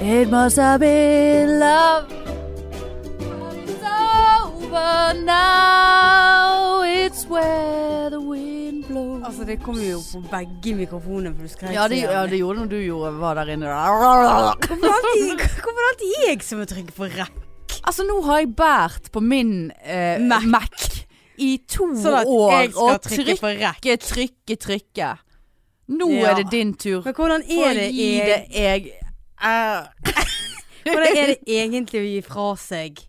It must have been love. But it's over now. It's where the wind blows. Altså, det kom jo på begge mikrofonene, for du skrek ja, det, så ja, jævlig. det gjorde det når du gjorde, var der inne. Hvorfor er det alltid, hvorfor er det alltid jeg som må trykke på rekk? Altså, nå har jeg båret på min eh, Mac. Mac. i to Sånn at jeg år skal og trykke trykke, på rekk. trykke, trykke. Nå Ja. er det din tur. Men hvordan Få er det, gi eg- det jeg hvordan er det egentlig å gi fra seg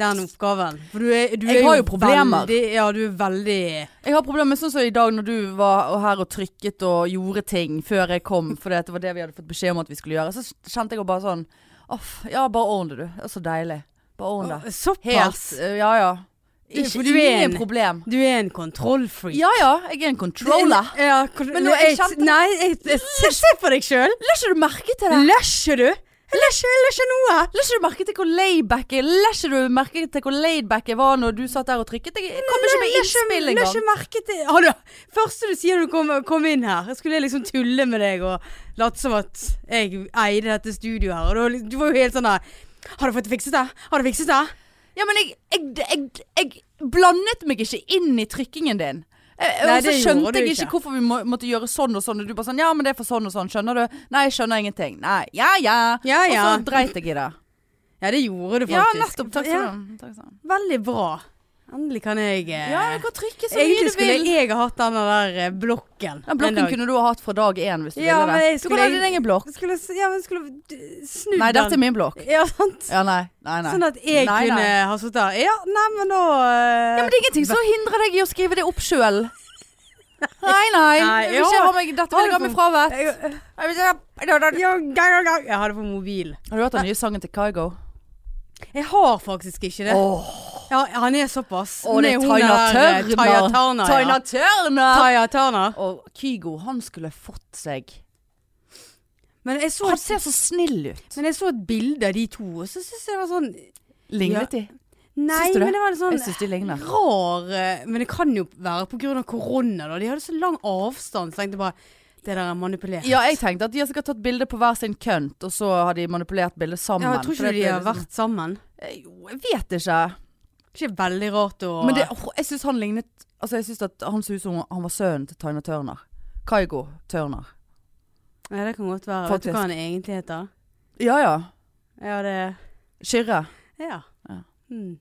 den oppgaven? For du er, du Jeg er har jo problemer. Veldig, ja, du er veldig Jeg har problemer med sånn som i dag når du var og her og trykket og gjorde ting før jeg kom, for det var det vi hadde fått beskjed om at vi skulle gjøre. Så kjente jeg jo bare sånn Uff, ja, bare ordn det, du. Det er så deilig. Bare ordn det. Helt. Såpass. eh, Ja ja. Ja, Ikke for du er ingen en- problem. Du er en kontrollfreak. Ja ja, jeg er en controller. Ja, kon Men nå, jeg kjente- Nei, jeg, jeg, se- se på deg sjøl. La ikke du merke til det? Løsjer du? Jeg Løsjer jeg løsjer noe. La ikke Mm. du merke til hvor laidback jeg La ikke du merke til hvor laidback jeg var når du satt der og trykket? Jeg jeg kom ikke med Løsjer- innspill engang. løsjer merke til Har du- Første du sier når du kom, kom inn her, jeg skulle liksom tulle med deg og late som at jeg eide dette studioet her. Og du, var li- du var jo helt sånn der Har du fått fikset det? Har du fikset det? Ja, men jeg, jeg, jeg, jeg blandet meg ikke inn i trykkingen din. Jeg, Nei, og så det gjorde skjønte du jeg ikke. ikke hvorfor vi må, måtte gjøre sånn og sånn. Og du bare sånn Ja, men det er for sånn og sånn. Skjønner du? Nei, jeg skjønner ingenting. Nei. Ja ja. Ja, ja. Og så dreit jeg i det. Ja, det gjorde du faktisk. Ja, nettopp. Takk Ja, skal du ha. Veldig bra. Endelig kan jeg eh, Ja, du kan trykke så mye Egentlig du skulle vil. jeg ha hatt den der eh, blokken. Den en dag. blokken kunne du ha hatt fra dag én hvis du Ja, men ville jeg det. Du skulle- kan ha din egen blokk. Jeg skulle, s- ja, men skulle d- snu Nei, den. dette er min blokk. Ja, sant? Ja, nei. Nei, nei. Sånn at jeg Nei, kunne nei. ha sittet der. Ja, nei, men da eh, Ja, men det er ingenting som hindrer deg i å skrive det opp sjøl. Nei, nei. Nei, Jeg vil ikke ja. ha meg, dette Har vil jeg du ha meg fått- fravett. jeg, Jeg vil ikke ha- ja, gang, gang, gang. jeg har det på mobil. Har du hørt den nye sangen til Kygo? Jeg har faktisk ikke det. Åh. Ja, han er såpass. Og det er Med hun Taina der, eh, Tørner. Taina Turner. Taina ja. Turner! Taina Turner. Og Kygo, han skulle fått seg Men jeg, så Han et, ser så snill ut. men jeg så et bilde av de to, og så syns jeg det var sånn Lignet de? Nei, Syns du det? men det var en sånn Jeg syns de ligner. rar eh, Men det kan jo være pga. korona, da. De hadde så lang avstand, så tenkte jeg bare Det der er manipulert. Ja, jeg tenkte at de har sikkert tatt bilde på hver sin kønt, og så har de manipulert bildet sammen. Ja, jeg tror For ikke det de er har liksom- vært sammen. Eh, Jo, jeg vet ikke. Ikke veldig rart å Men det, åh, jeg syns han lignet Altså, jeg syns at han så ut som han var sønnen til Taina Turner. Kygo Turner. Nei, det kan godt være. Vet Faktisk. du hva han egentlig heter? Ja ja. Ja, det Kyrre. Ja. Ja. Mm.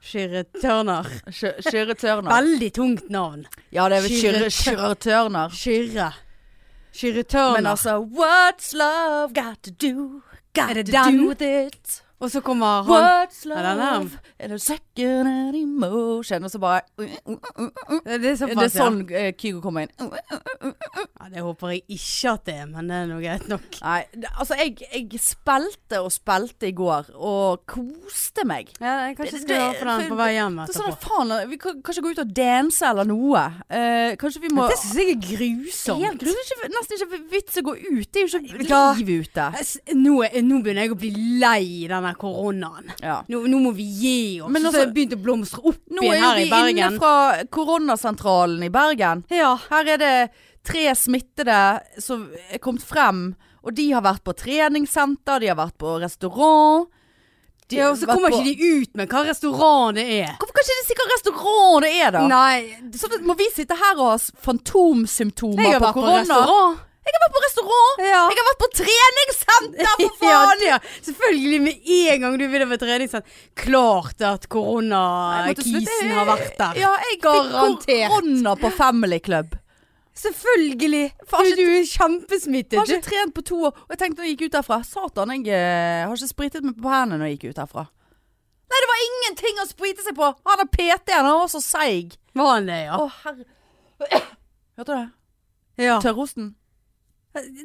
Kyrre Tørner. Kjø- Kyrre Turner. Veldig tungt navn. Ja, det er vel Kyrre Kyrre Kyrre Turner. Kyrre. Kyrre Tørner. Men altså What's love got to do? Got Er det to den? do with it. Og så kommer han What's den er love? Er det second an emotion? Og så bare uh, Det er Det er såpass, sånn eh, Kygo kommer inn. ja. ja. Det håper jeg ikke at det er, men det er nå greit nok. Nei, det, altså jeg, jeg spilte og spilte i går og koste meg. Ja, jeg kanskje Det- skal det- høre på den på vei hjem Så etterpå. sånn faen, vi kan kan ikke gå ut og danse eller noe. Eh, kanskje vi må Det syns jeg er grusomt. Helt grunn, ikke, nesten ikke vits å gå ut. Det er jo Vet du hva? ikke liv ute. S- Nå, er- nå begynner jeg å bli lei denne koronaen. Ja. Nå, nå må vi gi oss. Men Men altså- så har det begynt å blomstre opp Nå igjen er jo her vi i inne Bergen. fra koronasentralen i Bergen. Ja. Her er det tre smittede som er kommet frem, og de har vært på treningssenter, de har vært på restaurant. de ja, har og så vært kommer på- ikke de ut med hva restaurant det er. Hvorfor kan ikke de sikkert restaurant det er, da? Nei, Så da må vi sitte her og ha s- fantomsymptomer jeg har på vært på korona. restaurant. Jeg har vært på restaurant! Ja. Jeg har vært på treningssenter, for Ja, faen! det, selvfølgelig. Med en gang du vil over treningssenter. Klart at Jeg måtte slutte. koronakisen har vært der. Ja, jeg Garantert. fikk korona på Family Club. Selvfølgelig. Du, du er kjempesmittet. Jeg har ikke trent på to år. Og jeg tenkte når jeg gikk ut derfra Satan, jeg eh, har ikke spritet meg på hendene når jeg gikk ut derfra. Nei, det var ingenting å sprite seg på! Han der PT-en, han var så seig. Du- Var han det, ja? Å, herre Hørte du det? ja. Tørrosten.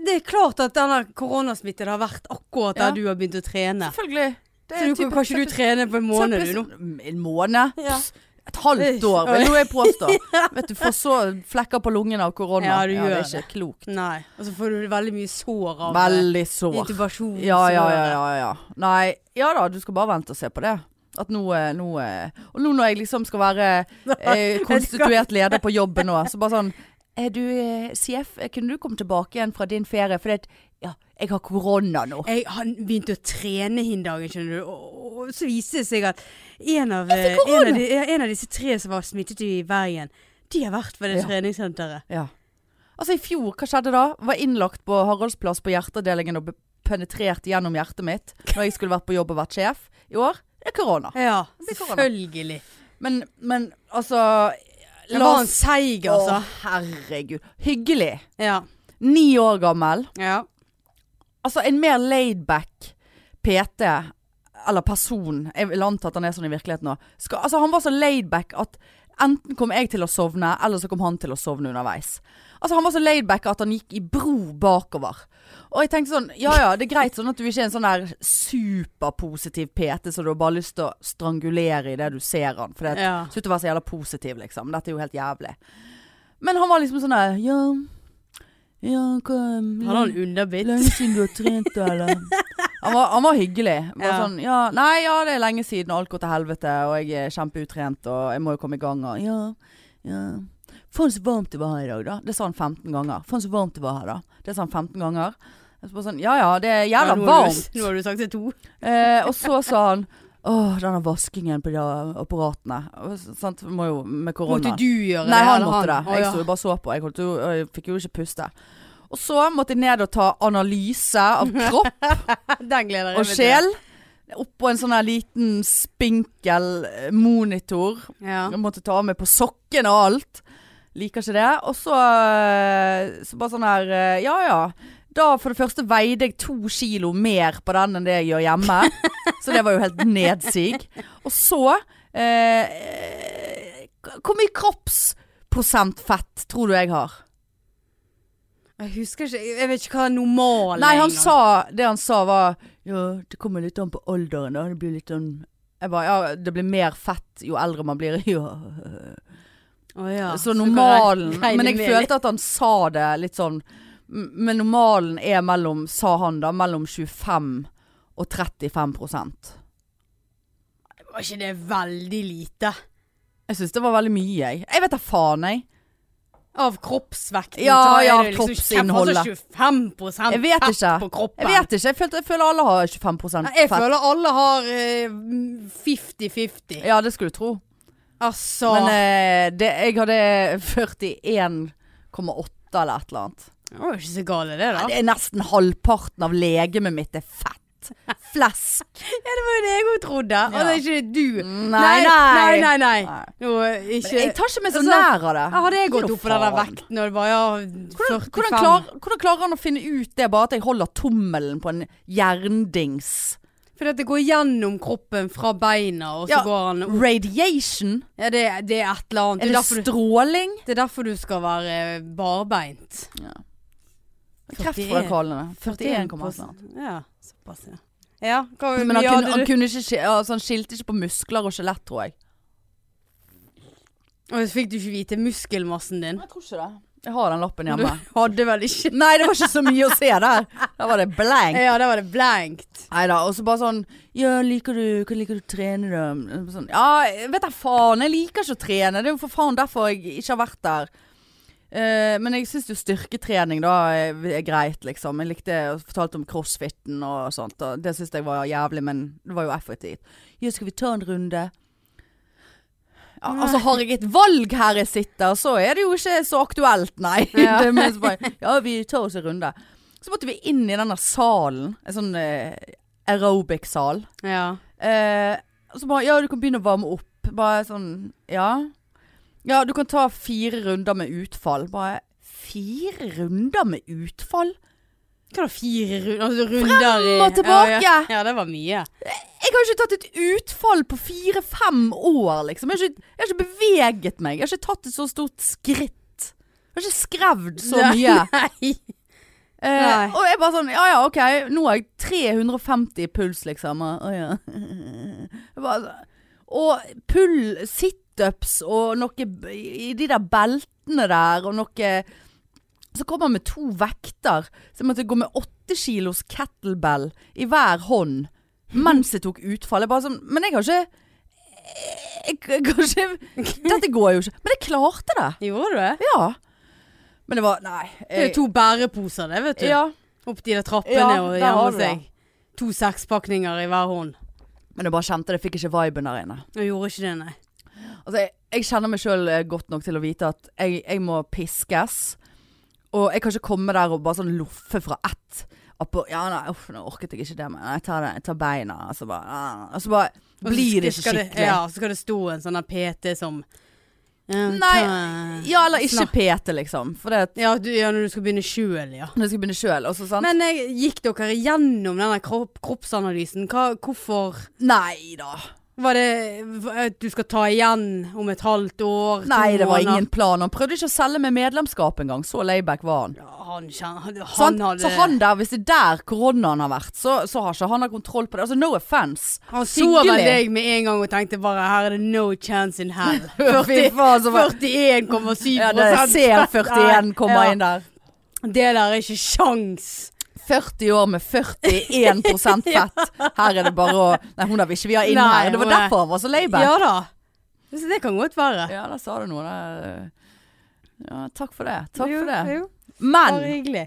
Det er klart at denne koronasmitten har vært akkurat der Ja. du har begynt å trene. Selvfølgelig. Det Så du, kan ikke du trene på en måned, du nå? En måned? Ja. Pss, Et halvt år, vil jo jeg påstå. Vet du, får så flekker på lungene av korona. Ja, du det gjør er ikke klokt. Nei. Og så får du veldig mye sår av eh, Veldig sår. intubasjon. Ja, ja, ja, ja, ja. Nei, ja da, du skal bare vente og se på det. At nå, eh, nå eh, Og nå når jeg liksom skal være eh, konstituert leder på jobben nå, så bare sånn eh, Du, eh, sjef, eh, kunne du komme tilbake igjen fra din ferie? For det, ja, Jeg har korona nå. Jeg, han begynte å trene hin dagen, skjønner du. Og, og så viste det seg at en av, eh, Jeg fikk korona! en, av de, ja, en av disse tre som var smittet i Bergen, de har vært på det Ja. treningssenteret. Ja. Altså i fjor, hva skjedde da? Var innlagt på Haraldsplass på hjerteavdelingen og be- penetrert gjennom hjertet mitt når jeg skulle vært på jobb og vært sjef. I år det er korona. Ja, Det blir korona. selvfølgelig. Men, men altså Det var en seig, altså. Å, herregud. Hyggelig. Ja. Ni år gammel. ja. Altså en mer laidback PT Eller person Jeg vil anta at han er sånn i virkeligheten også. Skal, altså, Han var så laidback at Enten kom jeg til å sovne Eller så kom han til å sovne underveis Altså han var så laidback at han gikk i bro bakover Og jeg tenkte sånn Ja ja, det er greit sånn at du ikke er en sånn der Superpositiv PT Så du har bare lyst til å strangulere i det du ser han For det ja. Slutt å være så jævla positiv, liksom. Dette er jo helt jævlig. Men han var liksom sånn der Ja, ja hva Hadde han underbitt? Lenge siden du har trent, da, eller? Han var, han var hyggelig. Bare Ja. sånn Ja, nei, ja, det er lenge siden, og alt går til helvete, og jeg er kjempeutrent, og jeg må jo komme i gang, og ja, ja. Faen så varmt det var her i dag, da. Det sa han 15 ganger. Faen så varmt det var her, da. Det sa han 15 ganger. Jeg så bare sånn Ja ja, det er Ja, jævla nå har du- varmt. Nå har du sagt det to. Eh, og så sa han Åh, denne vaskingen på de apparatene. Og s- Sant? Må jo med korona. Måtte du gjøre det? Nei, han eller måtte det. Å, Jeg ja. sto jo bare og så på. Jeg, holdt jo, og jeg fikk jo ikke puste. Og så måtte jeg ned og ta analyse av kropp Den gleder jeg og meg til. sjel. Oppå en sånn her liten spinkel eh, monitor. Ja. Jeg måtte ta av meg på sokken og alt. Liker ikke det. Og så, eh, så bare sånn her eh, Ja ja. Da for det første veide jeg to kilo mer på den enn det jeg gjør hjemme. Så det var jo helt nedsig. Og så eh, k- Hvor mye kroppsprosent fett tror du jeg har? Jeg husker ikke Jeg vet ikke hva normalen Nei, han engang. sa Det han sa var Ja, det kommer litt an på alderen da. Det blir litt sånn Jeg bare Ja, det blir mer fett jo eldre man blir. Ja. Å, ja. så kan normalen jeg regne Men jeg med litt. følte at han sa det litt sånn m- Men normalen er mellom, sa han da, mellom 25 og 35 prosent. Var ikke det veldig lite? Jeg syns det var veldig mye, jeg. Jeg vet da faen, jeg. Av kroppsvekten? Ja, så er ja, det liksom kroppsinnholdet. kjem- altså 25 Jeg vet ikke. fett på kroppen. Jeg vet ikke. Jeg, følte, jeg føler alle har 25 Nei, fett. jeg føler alle har eh, 50-50. Ja, det skulle du tro. Altså Men eh, det, jeg hadde 41,8 eller et eller annet. Det var jo ikke så gale, det, da. Det er nesten halvparten av legemet mitt er fett. Flesk. det var jo det jeg òg trodde. Og det er ikke du. Nei, Mm, nei, nei. nei. nei. Nei. Nå, ikke Men jeg tar ikke meg så Altså, nær av det. Ja, Hadde jeg gått Gir du opp på den der faen? vekten og det var ja, Hvordan, 45 hvordan, klar, hvordan klarer han å finne ut det bare at jeg holder tommelen på en jerndings? Fordi at det går gjennom kroppen fra beina, og så Ja. går han opp. Radiation? Ja, det, det er et eller Er annet. Det er det derfor du, stråling? det er derfor du skal være eh, barbeint. Kreftforekalende. 41, komma et eller annet. Ja, såpass, ja. Ja, hva altså. Men han, kunne, han, kunne ikke, skje- altså, han skilte ikke på muskler og skjelett, tror jeg. Og så fikk du ikke vite muskelmassen din. Jeg tror ikke det. Jeg har den lappen Du hjemme. hadde vel ikke Nei, det var ikke så mye å se der. Der var det blank. Ja, da var det blankt. Nei da. Og så bare sånn Ja, liker du Hva liker du å trene, da? Sånn, ja, vet da faen. Jeg liker ikke å trene. Det er jo for faen derfor jeg ikke har vært der. Eh, men jeg syns jo styrketrening da er er greit, liksom. Jeg likte jeg fortalte om crossfiten og sånt. Og det syns jeg var jævlig, men det var jo effektivt. Ja, skal vi ta en runde? Ja, altså Har jeg et valg her jeg sitter, så er det jo ikke så aktuelt, nei. Ja. Det er mest bare, ja, vi tar oss en runde. Så måtte vi inn i denne salen. En sånn eh, aerobic-sal. Ja. Eh, og så bare Ja, du kan begynne å varme opp. Bare sånn Ja. Ja, du kan ta fire runder med utfall. Bare Fire runder med utfall? Hva da, fire ru- altså, runder i- og tilbake! Ja, ja. ja, det var mye. Jeg har ikke tatt et utfall på fire-fem år, liksom. Jeg har, ikke, jeg har ikke beveget meg. Jeg har ikke tatt et så stort skritt. Jeg har ikke skrevd så Nei, mye. Nei. Nei. Eh, og jeg bare sånn, ja ja, ok, nå har jeg 350 i puls, liksom. Og, å, ja. Jeg bare, så- og pull, situps og noe b- i de der beltene der, og noe Så kom han med to vekter, så jeg måtte gå med åtte kilos kettlebell i hver hånd mens jeg tok utfall. Jeg bare sånn, men jeg har ikke jeg, jeg, har ikke, Dette går jo ikke. Men jeg klarte det. Gjorde du det? Ja. Men det var Nei. Det er jeg- jo to bæreposer, det, vet du. ja. Opp de der trappene Ja, og der har gjemme du seg. To sekspakninger i hver hånd. Men jeg bare kjente det, jeg fikk ikke viben der inne. Jeg gjorde ikke det, nei. Altså, jeg, jeg kjenner meg sjøl godt nok til å vite at jeg, jeg må piskes. Og jeg kan ikke komme der og bare sånn loffe fra ett. Appo, ja, nei, uff, nå orket jeg ikke det, men jeg tar, det, jeg tar beina. Og så bare, ah, og så Og bare så blir det skal- ikke skal skikkelig. Ja, så skal det stå en sånn der PT som ja, Nei, ta- Ja, eller ikke Snakk. pete, liksom. For det at Ja, du, ja, når du skal begynne sjøl, ja. når jeg skal begynne sjøl, og så sånn Men eh, gikk dere gjennom denne kropp, kroppsanalysen? Hva, hvorfor Nei da. var det v- at du skal ta igjen om et halvt år? to Nei, det var måneder? ingen plan. Han prøvde ikke å selge meg medlemskap engang. Så layback var han. Ja, han kjenner han, Sant? hadde, Så han der, hvis det er der koronaen har vært, så, så har ikke han hatt kontroll på det. Altså, no offence. han så vel Hyggelig. deg med en gang og tenkte bare her er det no chance in hell. Fy 40 faen, så var 41,7 ja, det ser 41 kommer Ja. inn der. Det der er ikke sjans. 40 år med 41 fett. Her er det bare å Nei, hun der vil ikke vi ha inn Nei, her. Det var hun er- derfor han var så layback. Ja da. Så det kan godt være. Ja, der sa du noe. der. Ja, takk for det. Takk Jo, for det. Jo, Men bare hyggelig.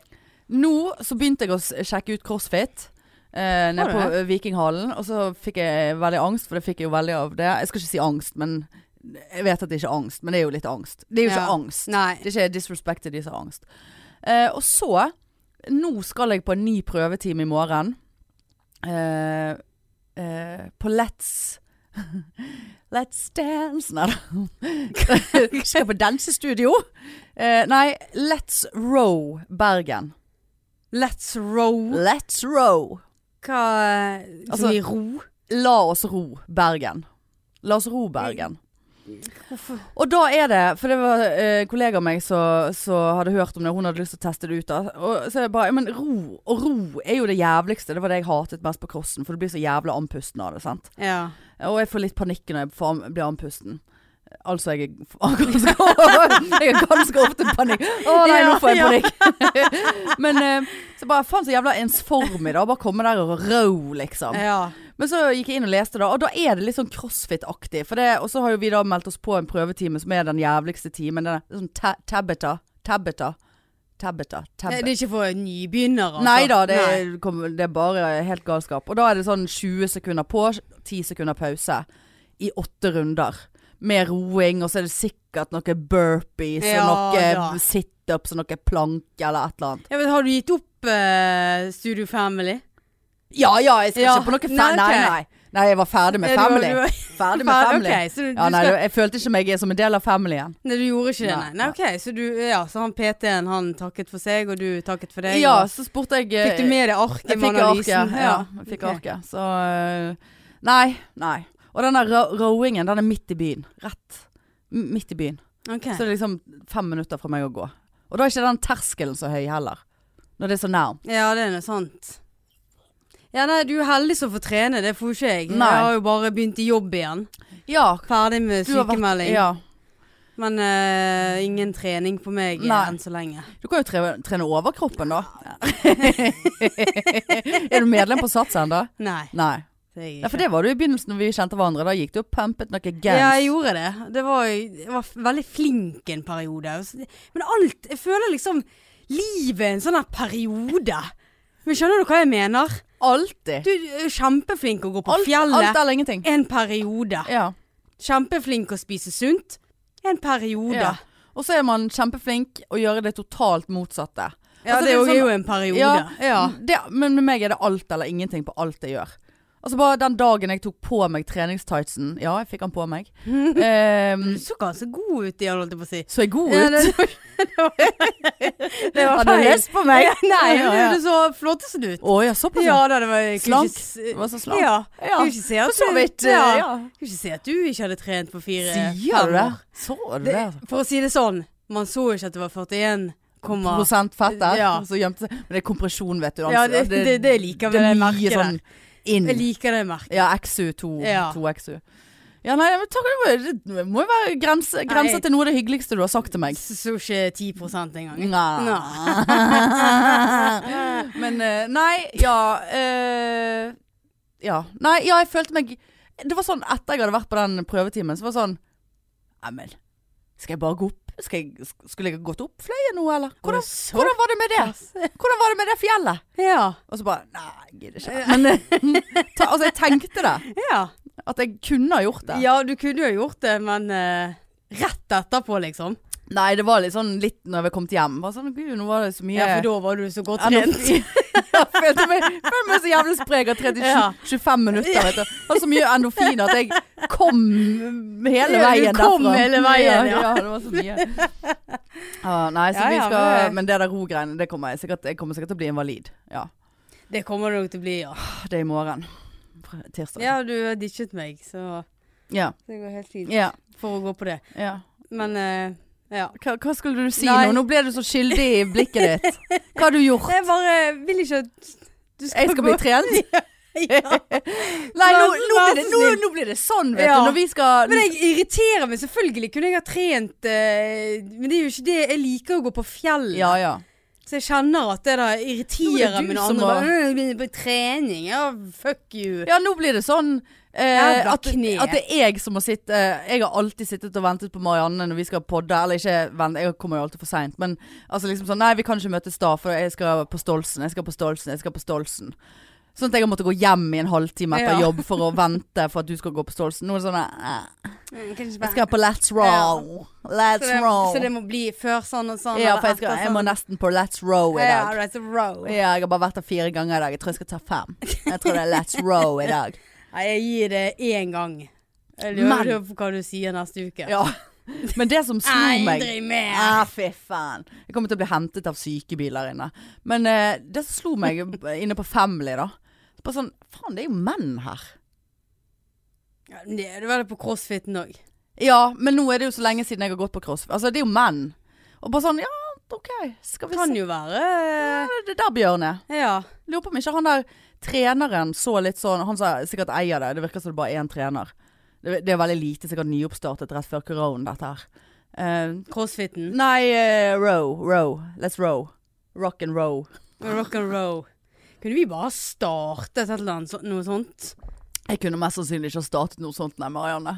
Nå så begynte jeg å s- sjekke ut crossfit. Eh, nede du på eh, Vikinghallen. Og så fikk jeg veldig angst, for det fikk jeg jo veldig av det. Jeg skal ikke si angst, men jeg vet at det ikke er angst. Men det er jo litt angst. Det er jo ikke Ja. angst. Nei. Det er ikke disrespect til de som har angst. Eh, og så Nå skal jeg på en ny prøvetime i morgen. Eh, eh, på Let's Let's dance Nei da. Skal på dansestudio. Eh, nei, Let's Row Bergen. Let's row. Let's row. Hva eh, Altså- Som i ro? La oss ro Bergen. La oss ro Bergen. Hvorfor? Og da er det For det var eh, en kollega av meg som som hadde hørt om det, hun hadde lyst til å teste det ut. Da. Og så er jeg bare ja, Men ro og ro er jo det jævligste. Det var det jeg hatet mest på crossen, for du blir så jævla andpusten av det. sant? Ja. Og jeg får litt panikk når jeg får, an- blir andpusten. Altså, jeg er ganske, jeg er ganske ofte panikk. Å nei, nå får jeg Ja, ja. panikk. Men eh, så bare faen så jævla ensformig, da. Bare komme der og ro, liksom. ja. Men så gikk jeg inn og leste, da, og da er det litt sånn crossfit-aktig. For det- Og så har jo vi da meldt oss på en prøvetime som er den jævligste timen. Den er sånn ta Tabata. Tabata. Tabata. Det Tabata. er ikke for nybegynnere, altså. Nei da, det, Nei. er- kom, det er bare helt galskap. Og da er det sånn 20 sekunder på, 10 sekunder pause. I åtte runder. Med roing, og så er det sikkert noe burpees Ja, og noe da. situps og noe planke eller et eller annet. Jeg vet, har du gitt opp eh, Studio Family? Ja ja, jeg skal Ja. ikke på noe Nei, fa... Nei, ok. nei. Nei, jeg var ferdig med Eh, du- family. du- Ferdig med family. Ok, så du, Ja, du nei, skal, du- jeg følte ikke meg som en del av familien. nei, du gjorde ikke det, Nei, nei. nei ok, så, du, ja, så han PT-en han takket for seg, og du takket for deg. Ja, og- så spurte jeg eh, Fikk du med deg arket Jeg med fikk arket. Ja, analysen? jeg fikk ok. arket. Så eh, Nei, nei. Og den der ro- rowingen, den er midt i byen. Rett M- midt i byen. Ok. Så det er liksom fem minutter fra meg å gå. Og da er ikke den terskelen så høy heller. Når det er så nærmt. Ja, det er noe sant. Ja, nei, du er heldig som får trene, det får jo ikke jeg. Nei. Jeg har jo bare begynt i jobb igjen. Ja. Ferdig med du har vært- sykemelding. Ja. Men eh, ingen trening på meg eh, Nei. enn så lenge. Du kan jo trene, trene overkroppen, da. er du medlem på Sats ennå? Nei. Nei. Det er jeg Ja, ikke. for det var du i begynnelsen når vi kjente hverandre. Da gikk du og pumpet noe gans. Ja, jeg gjorde det. Det var, jeg var veldig flink en periode. Og så- Men alt Jeg føler liksom livet er en sånn her periode. Men skjønner du hva jeg mener? Alltid. Du er kjempeflink å gå på Alt, fjellet. alt eller ingenting. En periode. Ja. Kjempeflink å spise sunt. En periode. ja. Ja, Og så er man kjempeflink å gjøre det totalt motsatte. Altså, det, det er er jo Mm. sånn- en periode. Ja, ja. Det, men med meg er det alt eller ingenting på alt jeg gjør. Altså bare den dagen jeg tok på meg treningstightsen Ja, jeg fikk den på meg. Du Ehm, så ganske god ut i den, holdt jeg på å si. så jeg god ut. Ja, det, det var Hadde du feil. lyst på meg? Ja, nei, Ja, ja. du så flottest ut. Å ja, såpass. Ja da, det var jeg kunne Slank. ikke s- Du var så slank. Ja. Ja, Kunne ikke si at For så du- vidt. Ja. eh, Kunne ikke si at du ikke hadde trent på fire Sier du fem det? år. Så du Det- det? altså? For å si det sånn, man så ikke at det var 41, komma Prosent fett der. Ja. Så gjemte seg. Men det er kompresjon, vet du. Ja, altså. det, det, det liker vi det det er mye merket sånn der. Jeg inn. liker det merket. Ja, XU2. Ja. 2XU. Ja, nei, men takk, det må- det må jo være grenser grenser Nei. til noe av det hyggeligste du har sagt til meg. Så, så ikke 10 Mm. engang. Nei. men eh, nei, ja eh, Ja. Nei, ja, jeg følte meg Det var sånn etter jeg hadde vært på den prøvetimen, så var det sånn Neimen, skal jeg bare gå opp? skal jeg, skulle jeg gått opp fløyen nå, eller? Hvordan, så hvordan var det med det? Hvordan var det med det fjellet? Ja. Og så bare Nei, jeg gidder ikke. Men eh, ta, altså, jeg tenkte det. Ja. At jeg kunne ha gjort det. ja, du kunne jo gjort det, men eh, rett etterpå, liksom. Nei, det var litt sånn litt når vi kom til hjem. Bare sånn, Gud, nå var det så mye Ja, for da var du så godt Ja, nå- trent. Jeg følte meg, følte meg så jævlig sprek og 30, Ja. 25 minutter. Vet du. Det var så mye endorfiner at jeg kom hele Ja, du veien kom derfra. hele veien, ja. ja. Det var så mye. Ah, nei, så Ja, vi ja, skal, men- men... det der rogreiene, det kommer jeg sikkert Jeg kommer sikkert til å bli invalid. Ja. Det kommer det nok til å bli, ja. Det er i morgen. Fra Tirsdag. Ja, du har ditchet meg, så Ja. det går helt fint ja. for å gå på det. ja. Men eh, ja. Hva, hva skulle du si Nei. nå? Nå ble du så skyldig i blikket ditt. Hva har du gjort? Jeg bare vil ikke at du skal, Jeg skal bli gå- trent? ja. Nei, nå, nå, blir det, Vær så nå, snill. nå blir det sånn, vet Ja. du. Når vi skal Men jeg irriterer meg. Selvfølgelig kunne jeg ha trent eh, Men det er jo ikke det. Jeg liker å gå på fjell. Ja, ja. Så jeg kjenner at det da Nå irriterer er det du meg når som andre må- bare «Øh, jeg begynner på trening. Ja, fuck you. Ja, nå blir det sånn eh, Jævla at, kne. at det er jeg som må sitte eh, Jeg har alltid sittet og ventet på Marianne når vi skal podde. Eller ikke vente, jeg kommer jo alltid for seint. Men altså liksom sånn Nei, vi kan ikke møtes da, for jeg skal på Stolsen. Jeg skal på Stolsen. Jeg skal på Stolsen. Sånn at jeg har måttet gå hjem i en halvtime etter Ja. jobb for å vente for at du skal gå på Stolsen. Nå er det sånn eh, Jeg kan ikke Jeg Mm, bare- skal på Let's Roll. så, Let's det, Roll. så det må bli før sånn og sånn. ja, eller for jeg, skal, etter jeg må sånn. nesten på Let's Row i Ja, dag. right, så row. Ja, jeg har bare vært der fire ganger i dag. Jeg tror jeg skal ta fem. Jeg tror det er Let's Row i dag. Nei, jeg gir det én gang. Jeg Men- lurer på hva du sier neste uke. Ja. Men det som slo meg Aldri mer! Ah, fy faen. Jeg kommer til å bli hentet av sykebiler inne. Men eh, det som slo meg inne på Family, da. Bare sånn Faen, det er jo menn her. Ja, men Det er det vel på crossfiten òg. Ja, men nå er det jo så lenge siden jeg har gått på cross. Altså, det er jo menn. Og bare sånn Ja, OK. Skal vi Kan se jo være eh, Det der, Bjørne. Ja. Lurer på om ikke han der treneren så litt sånn Han som sikkert eier det, det virker som det bare er én trener. Det, det er veldig lite, sikkert nyoppstartet rett før koronaen, dette her. Eh, Crossfiten. nei, eh, row, row. Let's row. Rock and row. Rock and roll. Kunne vi bare startet et eller annet så- noe sånt? Jeg kunne mest sannsynlig ikke ha startet noe sånt, nei, Marianne.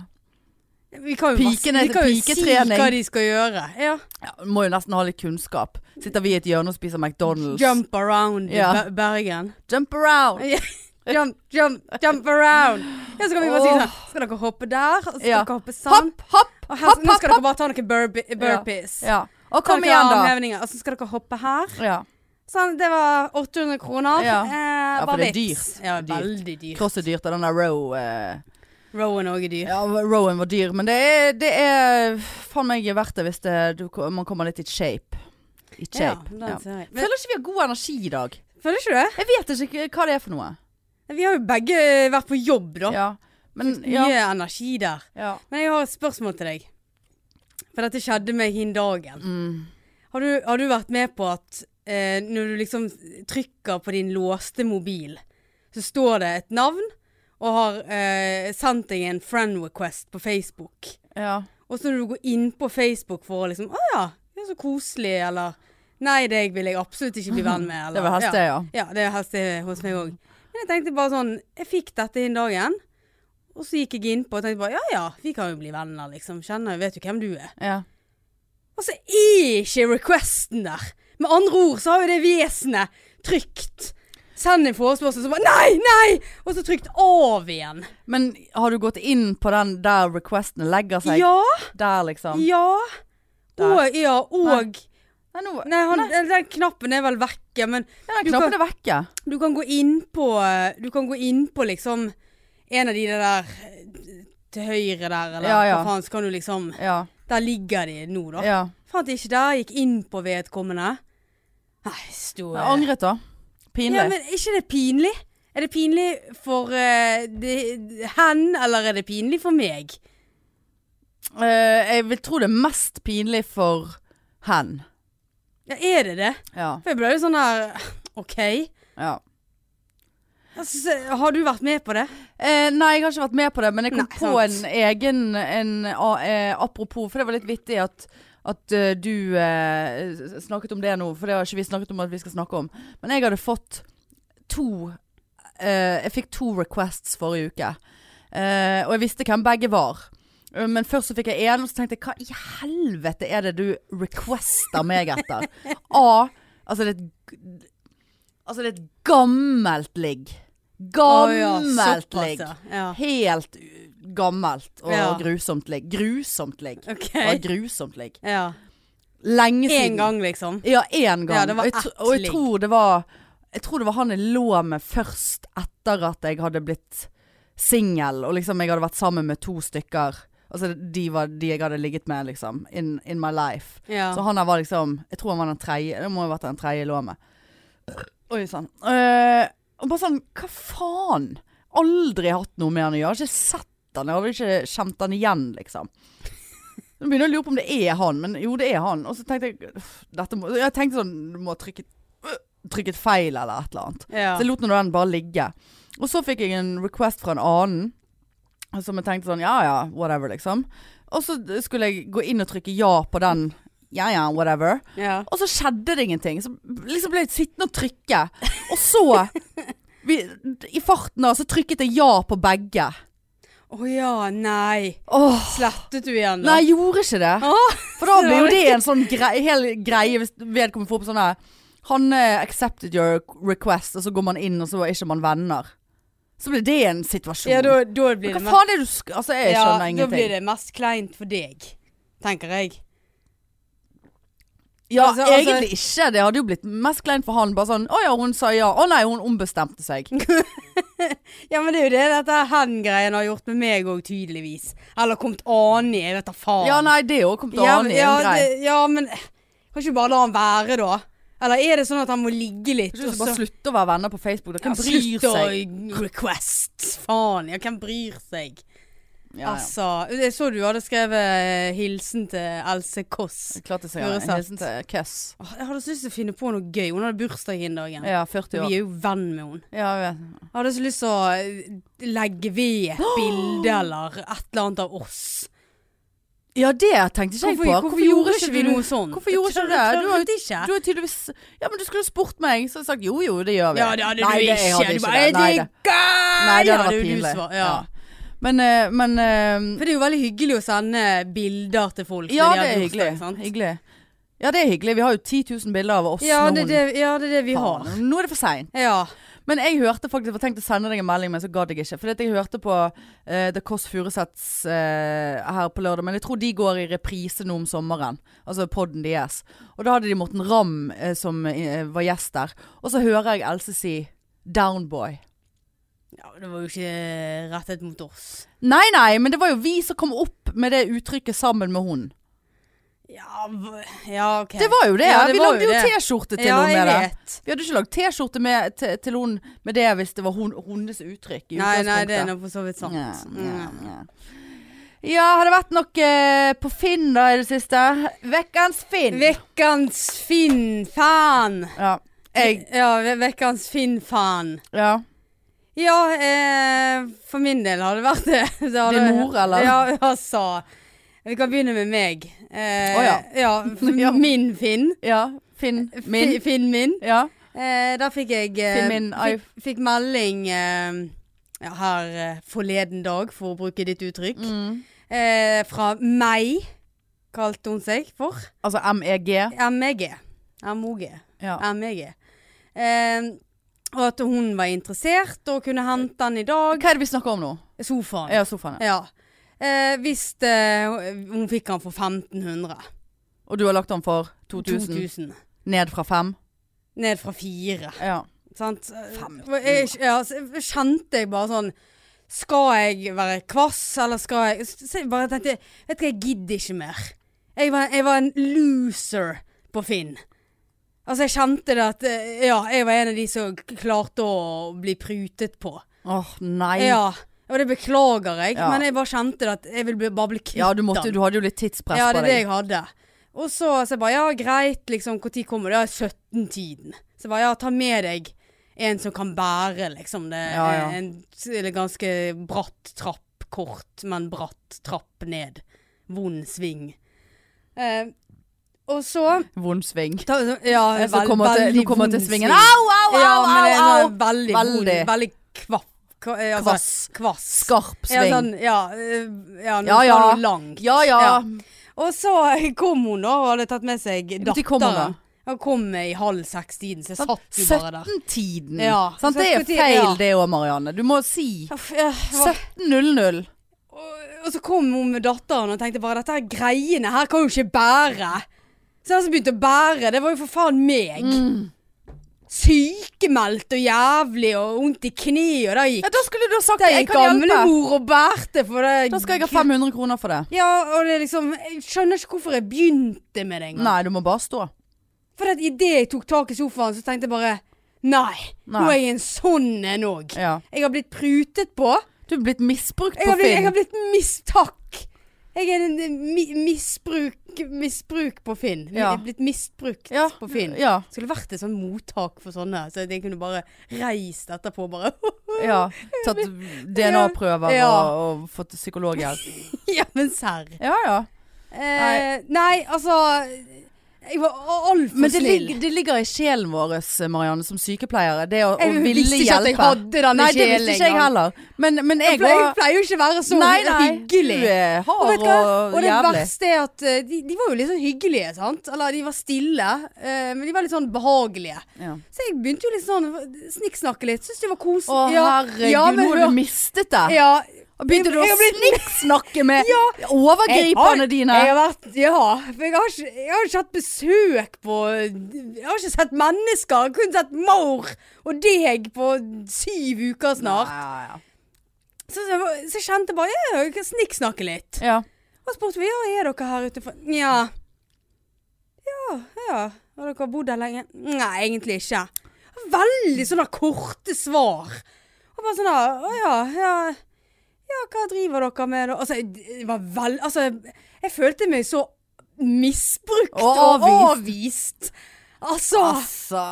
Vi kan jo, bare- Pikene vi til kan jo piketrening. si hva de skal gjøre. Ja. Ja, må jo nesten ha litt kunnskap. Sitter vi i et hjørne og spiser McDonald's. Jump around i Ja. Be- Bergen. Jump around! Jump, jump, jump around! Ja, så kan vi bare si Åh. sånn Skal dere hoppe der? Og så skal Ja. dere hoppe sånn? Hopp, hopp, Og her, hopp, nå hopp! skal dere bare ta noen burpe- burpees. Ja. Og Ta kom noen igjen, da. armhevninger, Og så skal dere hoppe her. Ja. Sånn, det var 800 kroner. Ja. eh, Ja, for bare det er vips. dyrt. Ja, Dyrt. veldig dyrt. Cross er dyrt, og den der row eh, Rowan òg er dyr. Ja, rowen var dyr, men det er, det er faen meg verdt det hvis det, du, man kommer litt i shape. I Ja, shape. den Ja, ser jeg. Men, Føler ikke vi har god energi i dag. føler ikke du det? Jeg vet ikke hva det er for noe. Vi har jo begge vært på jobb, da. Ja. Men ja. Mye energi der. ja. Men jeg har et spørsmål til deg. For dette skjedde meg hin dagen. Mm. Har du, har du vært med på at eh, når du liksom trykker på din låste mobil, så står det et navn og har eh, sendt deg en friend request på Facebook. ja. Og så når du går inn på Facebook for å liksom Å ja, det er så koselig, eller Nei, deg vil jeg absolutt ikke bli venn med, eller Det var ja. heste, ja. Ja, det er helst det hos meg òg. Men jeg tenkte bare sånn Jeg fikk dette inn dagen. Og så gikk jeg innpå og tenkte bare ja ja, vi kan jo bli venner, liksom. Kjenner, vet jo hvem du er. ja. Og så er ikke requesten der. Med andre ord så har jo det vesenet trykt Send en forespørsel, så bare Nei, nei! Og så trykt av igjen. Men har du gått inn på den der requesten legger seg? Ja, Der, liksom? ja. Der. Og, ja, og Nei, nå Nei, han, den knappen er vel vekke, men Den du knappen er vekke. Du kan gå inn på eh, Du kan gå inn på liksom En av de der eh, til høyre der, eller Ja, ja. hva faen, så kan du liksom Ja. Der ligger de nå, da. ja. Fant ikke der, gikk inn på vedkommende. Nei, sto Jeg angret, da. Ja, Pinlig. men er ikke det pinlig? Er det pinlig for eh, det, hen, eller er det pinlig for meg? Eh, jeg vil tro det er mest pinlig for hen. Ja, er det det? Ja. For jeg ble jo sånn der OK. ja. Altså, har du vært med på det? Eh, nei, jeg har ikke vært med på det, men jeg kom Nei, på en sant. egen en, a- eh, Apropos, for det var litt vittig at, at eh, du eh, snakket om det nå, for det har ikke vi snakket om at vi skal snakke om. Men jeg hadde fått to eh, Jeg fikk to requests forrige uke. Eh, og jeg visste hvem begge var. Eh, Men først så fikk jeg én, og så tenkte jeg hva i helvete er det du requester meg etter? A. Altså det er et g- Altså det er et gammelt ligg. Å ja, Gammelt såpass, ligg. ja. Ja. Helt uh, gammelt og Ja. grusomt ligg. Grusomt ligg. Ok. Det var grusomt ligg. Ja. Lenge siden. En gang, liksom. Ja, én gang. Ja, det var og jeg, tr- ett og jeg ligg. tror det var Jeg tror det var han jeg lå med først etter at jeg hadde blitt singel, og liksom jeg hadde vært sammen med to stykker. Altså de var de jeg hadde ligget med, liksom. In, in my life. Ja. Så han der var liksom Jeg tror han var den tredje. Det må ha vært den tredje jeg lå med. Oi sann. Eh, og bare sånn Hva faen? Aldri hatt noe med han å gjøre. Jeg har ikke sett han. Jeg hadde ikke kjent han igjen, liksom. Nå begynner jeg å lure på om det er han, men jo, det er han. Og så tenkte jeg «Uff, dette må, Jeg tenkte sånn Du må ha trykket, øh, trykket feil eller et eller annet. Ja. Så jeg lot nå den bare ligge. Og så fikk jeg en request fra en annen. Som jeg tenkte sånn, ja ja, whatever, liksom. Og så skulle jeg gå inn og trykke ja på den. Ja ja, whatever. ja. Og så skjedde det ingenting. Så liksom ble jeg sittende og trykke. Og så, vi, i farten da, så trykket jeg ja på begge. Å ja, nei. Åh, Slettet du igjen, da? nei, jeg gjorde ikke det. Åh, For da blir jo det en sånn grei, hel greie hvis vedkommende får opp sånn her Han eh, accepted your request, og så går man inn, og så er ikke man venner. Så blir det en situasjon. ja, da, da blir Men hva det mest faen er det du sk... Altså, jeg ja, skjønner Da blir ingenting. det mest kleint for deg, tenker jeg. Ja, altså, altså- egentlig ikke. Det hadde jo blitt mest kleint for han. Bare sånn Å ja, hun sa ja. Å nei, hun ombestemte seg. Ja, men det er jo det dette hen-greien har gjort med meg òg, tydeligvis. Eller kommet an i, jeg vet da faen. Ja, nei, det òg kom til å Ja, ane ja, en grei. det- ja, men eh, kan ikke bare la han være, da? Eller er det sånn at han må ligge litt? Du og skal bare så- slutte å være venner på Facebook. Da altså- kan Ja, bryr slutt seg. å request. Faen, ja, hvem bryr seg? Ja, ja. Altså, jeg så du hadde skrevet eh, hilsen til Else Kåss. Klart jeg skal gjøre en Uansett. hilsen til eh, Køss. Åh, Jeg hadde så lyst til å finne på noe gøy. Hun hadde bursdag den dagen. Ja, Vi 40 er år. jo venn med henne. Ja, jeg vet. Jeg hadde så lyst til å eh, legge ved et bilde eller et eller annet av oss. ja det tenkte ikke jeg på. Hvorfor, hvorfor gjorde ikke vi noe sånt? Hvorfor gjorde ikke du det? Du har jo tørret ikke. Du er tydeligvis Ja, men du skulle jo spurt meg. Så hadde jeg sagt jo jo, det gjør vi. Ja, det hadde Nei, det- du ikke. jeg hadde du ikke bare, det. er Nei, det det- Nei, det hadde vært jo du pinlig. svar- Ja. Ja. Men, eh, men eh, For det er jo veldig hyggelig å sende bilder til folk. Ja, når de det har er bursdag, hyggelig. sant? hyggelig. Ja, det er hyggelig. Vi har jo 10 000 bilder av oss Ja nå. det, er det, ja, det er det vi Faen, har. Nå er det for seint. Ja. Men jeg hørte faktisk Jeg var tenkt å sende deg en melding, men så gadd jeg ikke. Fordi at jeg hørte på eh, The Kåss Furuseths eh, her på lørdag. Men jeg tror de går i reprise nå om sommeren. Altså podden deres. Og da hadde de Morten Ramm eh, som eh, var gjest der. Og så hører jeg Else si Downboy. ja, det var jo ikke rettet mot oss. Nei, nei, men det var jo vi som kom opp med det uttrykket sammen med hun. Ja, v- ja ok. Det var jo det. Ja, det vi var lagde jo jo det. T-skjorte til ja, hun jeg med det. vet. Vi hadde ikke lagd T-skjorte med- til til hun med det hvis det var hun, hennes uttrykk. i Nei, nei, utgangspunktet. det er nå for så vidt sant. Ja, ja, Mm. ja. ja, har det vært noe eh, på Finn da i det siste? Vekkens Finn! Vekkans Finn-fan. ja. Jeg, Ja, ve- vekkans Finn-fan. ja. Ja, eh, for min del har det vært det. det har Din det- mor, eller? Ja, altså. Vi kan begynne med meg. Eh, Å, ja. for Ja. Min Finn. ja. Finn min. Eh, Fi- Finn min. Ja. Eh, da fikk jeg eh, Finn min fikk, fikk melding eh, ja, her eh, forleden dag, for å bruke ditt uttrykk. Mm. Eh, fra meg, kalte hun seg for. Altså E MEG. MEG. MOG. Ja. MEG. Eh, og at hun var interessert og kunne hente den i dag. Hva er det vi snakker om nå? Sofaen. Ja, sofaen. Ja. Ja. Eh, hvis eh, hun fikk han for 1500. Og du har lagt den for 2000? 2000. Ned fra 5? Ned fra 4. Ja. Sant? 1500. Jeg, ja, så jeg kjente jeg bare sånn Skal jeg være kvass, eller skal jeg Så jeg bare tenkte Vet du hva, jeg gidder ikke mer. Jeg var, jeg var en loser på Finn. Altså, jeg kjente det at eh, Ja, jeg var en av de som k- klarte å bli prutet på. Åh, nei. Ja. Ja. Og det beklager jeg, Ja. men jeg bare kjente det at jeg ville bli, bare bli kvitt du, måtte, den. du hadde jo litt tidspress Ja, det på er det deg. jeg hadde. Og så, så jeg bare, ja greit, liksom, hvor tid kommer det? Ja, 17-tiden. Så jeg bare, ja, ta med deg en som kan bære, liksom. Det er Ja, ja. en s- eller ganske bratt trapp, kort, men bratt trapp ned. Vond sving. Eh, og så... Vond sving. Ta, ja, Jeg som vel- eh, kommer til- veldig nå kommer jeg til vond svingen. Au, au, au, ja, men det au, er au! en veldig, Veldig. vond, veldig kvapp, kva- eh, altså, Kvass. kvass. Skarp Ja, sving. sånn, ja, eh, Ja, ja, noe, ja. noe langt. Ja ja. Og så kom hun da, og hadde tatt med seg Når datteren. kom hun da? Hun kom i halv seks-tiden, så jeg Sant? satt jo bare der. 17-tiden. Ja, Sant? Det er 17-tiden, feil ja. det òg, Marianne. Du må si Uff, jeg var- 17.00. Og, og så kom hun med datteren og tenkte bare dette her greiene her kan jo ikke bære. Så den som begynte å bære, det var jo for faen meg. Mm. Sykemeldt og jævlig og vondt i kneet, og da gikk Ja, da skulle du ha sagt Da jeg gikk kan hjelpe. gamlemor og bærte for det. Da skal jeg ha 500 kroner for det. Ja, og det er liksom Jeg skjønner ikke hvorfor jeg begynte med det engang. Nei, du må bare stå. For at idet jeg tok tak i sofaen, så tenkte jeg bare Nei, nå er Nei. jeg en sånn en òg. Ja. Jeg har blitt prutet på. Du er blitt misbrukt Jeg på har blitt, jeg Finn. har blitt mis... Takk! Jeg er en en mi, misbruk, misbruk på Finn. Jeg Ja. er blitt misbrukt Ja. på Finn. Ja. Skulle vært et sånn mottak for sånne, så jeg kunne bare reist etterpå og bare ja. Tatt DNA-prøver Ja. og, og fått psykologhjelp. Ja, men serr. Ja ja. Eh, nei, altså Jeg var altfor Men det snill. ligger, det ligger i sjelen vår, Marianne, som sykepleiere. Det å, å Jeg ville visste ikke at jeg hjelpe. hadde denne Nei, det sjelen visste ikke jeg engang. heller. Men, men Jeg jeg pleier, var pleier jo ikke å være så Nei, nei. hyggelig. Du er hard Og vet du hva? og, Og det jævlig. verste er at eh, de, de var jo litt sånn hyggelige, sant? Eller de var stille, eh, men de var litt sånn behagelige. Ja. Så jeg begynte jo litt sånn snikksnakke litt. Syns det var koselig. Å herregud, nå har du mistet det. Ja. Begynte du å Jeg har blitt- snikksnakke med overgriperne dine? Jeg har vært, ja, for jeg har, ikke, jeg har ikke hatt besøk på Jeg har ikke sett mennesker. Jeg har kun sett mor og deg på syv uker snart. Ja, Så, så, så jeg kjente bare ja, jeg kan snikksnakke litt. ja, ja. Og spurte vi, ja, er dere her ute for Nja. Ja, ja. Har dere bodd her lenge? Nei, egentlig ikke. Veldig sånne korte svar. Og bare sånn der, å ja, ja. Ja, hva driver dere med da? Altså, jeg var vel... Altså, jeg følte meg så misbrukt Og og avvist. avvist. Altså, Altså.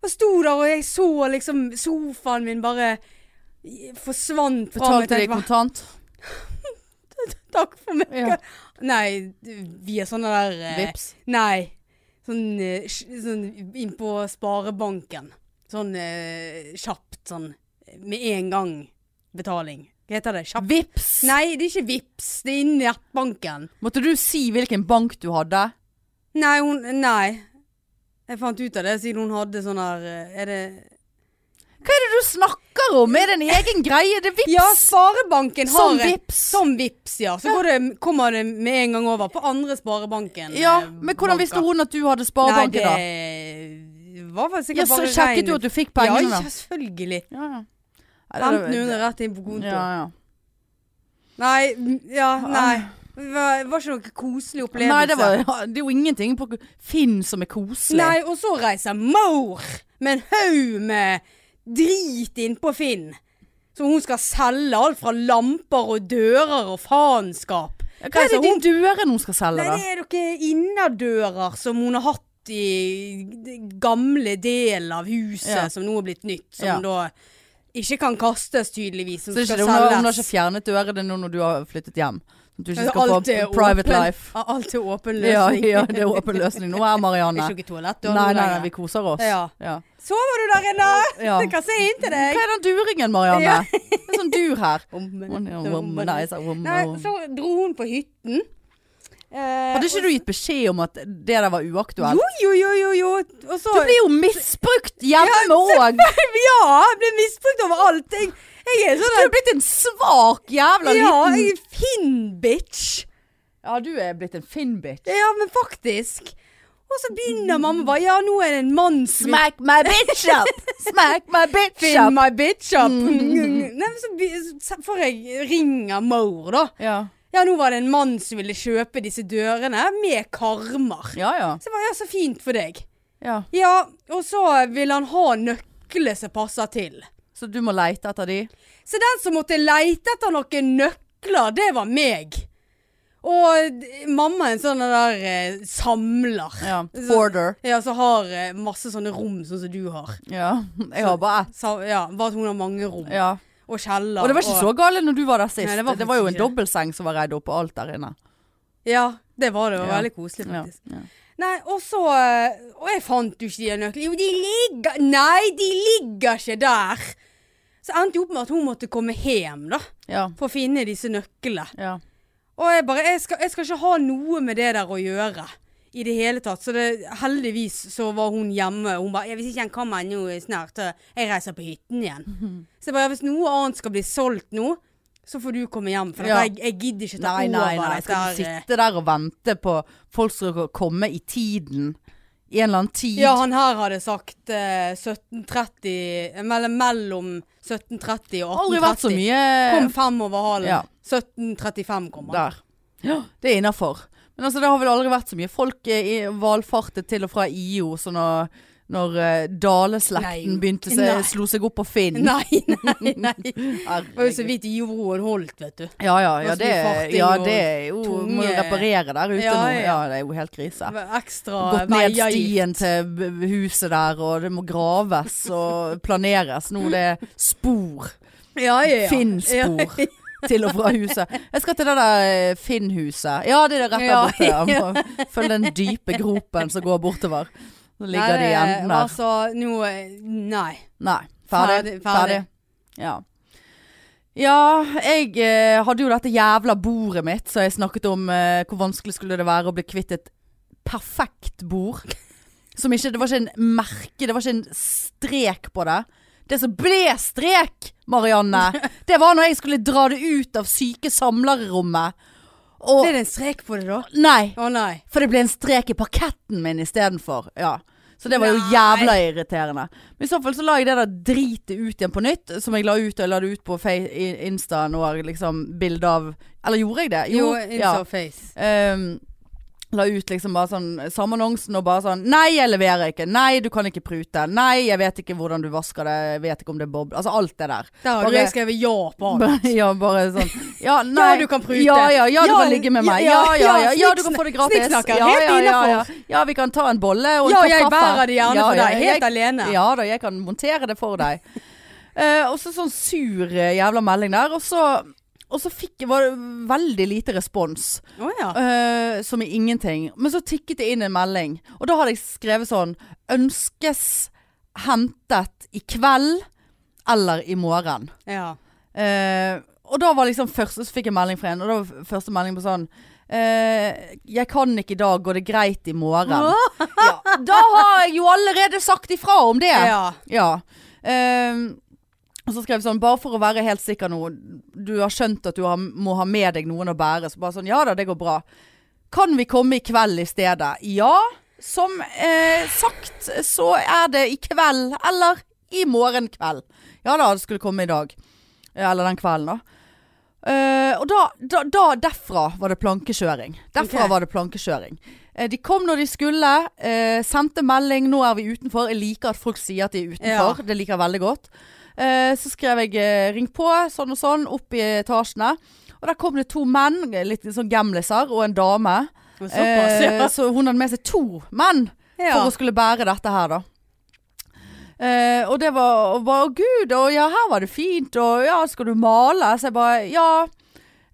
jeg sto der og jeg så liksom sofaen min bare forsvant fra meg. Betalte Tenkte de bare, kontant? Takk for meg. Ja. Nei, du, vi er sånne der eh, Vips. Nei. Sånn, eh, sj- sånn inn på sparebanken. Sånn eh, kjapt, sånn med en gang betaling. Hva heter det? Kjapt? Vips? Nei, det er ikke Vips, det er innen nettbanken. Måtte du si hvilken bank du hadde? Nei, hun Nei. Jeg fant ut av det siden hun hadde sånn der eh, Er det Hva er det du snakker om? Er det en egen greie? Det er vips! Ja, Sparebanken har Eh. Som en- vips. Som Vips, ja. Så går det, kommer det med en gang over på andre sparebanken. Ja, eh, men hvordan visste banker. hun at du hadde sparebanken da? Nei, det var vel Ja, sikkert så bare sjekket du at du fikk pengene Ja, da? ja, selvfølgelig. Ja, ja. Nei, det- 1500 rett inn på konto. Ja, ja. Nei, m- ja, nei. Det var, var ikke noe koselig opplevelse. Nei, det, var, ja, det er jo ingenting på Finn som er koselig. Nei, og så reiser mor med en haug med drit innpå Finn. Som hun skal selge alt fra lamper og dører og faenskap. Ja, Hva er det Altså, de hun- dørene hun skal selge, Nei, da? det er noen innerdører som hun har hatt i d- gamle del av huset, Ja. som nå er blitt nytt. Som Ja. da ikke kan kastes, tydeligvis. Som Så det er ikke skal det, hun, har, selges. hun har ikke fjernet dørene nå når du har flyttet hjem? Sånn at du ikke skal Alt er få private åpen- life. Ja, Alt er åpen Ja, løsning. ja, det er åpen løsning nå her, Det Marianne. er ikke noe toalett Nei, du har nei, nå nei, lenger. vi koser oss. Ja. Ja. Sover du der inne? Ja. Jeg kan se inn til Hva deg. er den duringen, Marianne? Det er sånn dur her. Nei, Nei, sa hun. så dro hun på hytten. Eh, Hadde ikke du gitt beskjed om at det der var og- uaktuelt? Jo, jo, jo, jo, jo. Og så Du blir jo misbrukt hjemme òg! Ja, jeg ble misbrukt over alt. Jeg, jeg er Du sånn er blitt en svak jævla Ja, liten jeg er Finn-bitch. Ja, du er blitt en Finn-bitch. Ja, men faktisk. Og så begynner mamma bare Ja, nå er det en mann som Smack my bitch up! Smack my bitch Finn up! my bitch up. Mm. Nei, men så by- så får jeg ringe mor, da. Ja, Ja, nå var det en mann som ville kjøpe disse dørene med karmer. ja. ja. Så jeg bare, ja, så fint for deg. ja. Ja, og så vil han ha nøklene som passer til. Så du må leite etter de? Så den som måtte leite etter noen nøkler, det var meg. Og d- mamma er en sånn der eh, samler. Ja. Så- Hoarder. Ja, så har eh, masse sånne rom, sånn som du har. Ja. Jeg har bare ett. Sa, ja, bare at hun har mange rom. Ja. Og kjeller. Og det var ikke så gale når du var der sist. Nei, det, det var var jo en faktisk ikke. dobbeltseng som var redd opp og alt der inne. Ja, det var det. Det var Ja. veldig koselig, Ja. faktisk. Nei, og så eh, Og jeg fant jo ikke de nøklene. Jo, de ligger Nei, de ligger ikke der! Så Så endte jo opp med at hun måtte komme hjem, da. Ja. For å finne disse nøklene. ja. Og jeg bare jeg skal, jeg skal ikke ha noe med det der å gjøre. I det hele tatt. Så det, heldigvis så var hun hjemme. Hun bare 'Hvis ikke han kommer nå snart, så jeg reiser på hytten igjen'. Så jeg bare 'Hvis noe annet skal bli solgt nå, så får du komme hjem', for Ja. jeg, jeg gidder ikke ta Nei, nei, over nei. Skal du dette her. eh." sitte der og vente på folk skal komme i tiden? I en eller annen tid? Ja, han her hadde sagt eh, 17.30 Mellom, mellom 17.30 og 18.30. Aldri vært så mye Kom fem over halen. Ja. 17.35 kom han. der. Ja, det er innafor. Men altså, det har vel aldri vært så mye folk eh, i- valfartet til og fra IO, så når, når eh, Daleslekten Nei. begynte Nei. seg, slo seg opp på Finn. Nei, nei, nei. Det var jo så Herregud. vidt Altså, jorden holdt, vet du. Ja, ja, ja, Det var så det, mye farting ja, og det er jo Må jo tunge- reparere der ute Ja, nå. ja. Ja, det er jo helt krise. Det var Ekstra Gått ned veier i- stien til b- b- huset der, og det må graves og planeres. Nå det er spor. Ja, ja, ja. Finn-spor. Til og fra huset. Jeg skal til det der eh, Finn-huset. Ja, det er det rett der Ja, borte. Jeg må Følg den dype gropen som går bortover. Så ligger de Nei, i enden der. Altså, nå Nei. Nei. Ferdig. Ferdig, ferdig. Ferdig. Ja. Ja, jeg eh, hadde jo dette jævla bordet mitt, så jeg snakket om eh, hvor vanskelig skulle det være å bli kvitt et perfekt bord. Som ikke Det var ikke en merke, det var ikke en strek på det. Det som ble strek, Marianne, det var når jeg skulle dra det ut av syke samlerrommet. Ble Og det en strek på det, da? Nei! Å nei. For det ble en strek i parketten min istedenfor. Ja. Så det var jo jævla irriterende. Men i så fall så la jeg det der dritet ut igjen på nytt, som jeg la ut, og jeg la det ut på Fe- i- Insta nå, liksom bilde av Eller gjorde jeg det? Jo, insta face. Ehm, la ut liksom bare sånn samme annonsen og bare sånn Nei, jeg leverer ikke. Nei, du kan ikke prute. Nei, jeg vet ikke hvordan du vasker det. Jeg vet ikke om det er bob... Altså alt det der. Der har Bare- du jeg skrevet ja på alt. Ja, bare sånn ja, nei. du kan prute. Ja, ja, ja, du Ja, kan ligge med ja, meg. Ja, ja, ja, ja, ja, du kan få det snikksnakk- gratis. snikksnakker, ja, helt ja, ja, ja. innenfor. ja, vi kan ta en bolle og en Ja, kopp jeg kaffe. bærer det gjerne for deg, helt jeg, alene. Ja da, jeg kan montere det for deg. Eh, og så sånn sur eh, jævla melding der. Og så, og så fikk jeg var det veldig lite respons. Å ja. Eh, som i ingenting. Men så tikket det inn en melding. Og da hadde jeg skrevet sånn Ønskes hentet i kveld eller i morgen. ja. Eh, og da var liksom første Så fikk jeg melding fra en, og da var første melding på sånn eh, jeg kan ikke i dag, går det greit i morgen? Ja, da har jeg jo allerede sagt ifra om det! ja. Ja. Ehm, og så skrev jeg sånn, bare for å være helt sikker nå, du har skjønt at du har, må ha med deg noen å bære, så bare sånn, ja da, det går bra. Kan vi komme i kveld i stedet? Ja, som eh, sagt, så er det i kveld, eller i morgen kveld. Ja da, det skulle komme i dag. Eller den kvelden da. Eh, og da, da, da, derfra var det plankekjøring. Derfra Ok. var det plankekjøring. Eh, de kom når de skulle, eh, sendte melding, nå er vi utenfor. Jeg liker at folk sier at de er utenfor, det liker jeg veldig godt. Eh, så skrev jeg eh, ring på, sånn og sånn, opp i etasjene. Og der kom det to menn, litt sånn gamliser, og en dame. Men Såpass, Eh, ja. så hun hadde med seg to menn ja. for å skulle bære dette her, da. Eh, og det var og bare, Å, gud, og ja, her var det fint, og ja, skal du male? Så jeg bare Ja.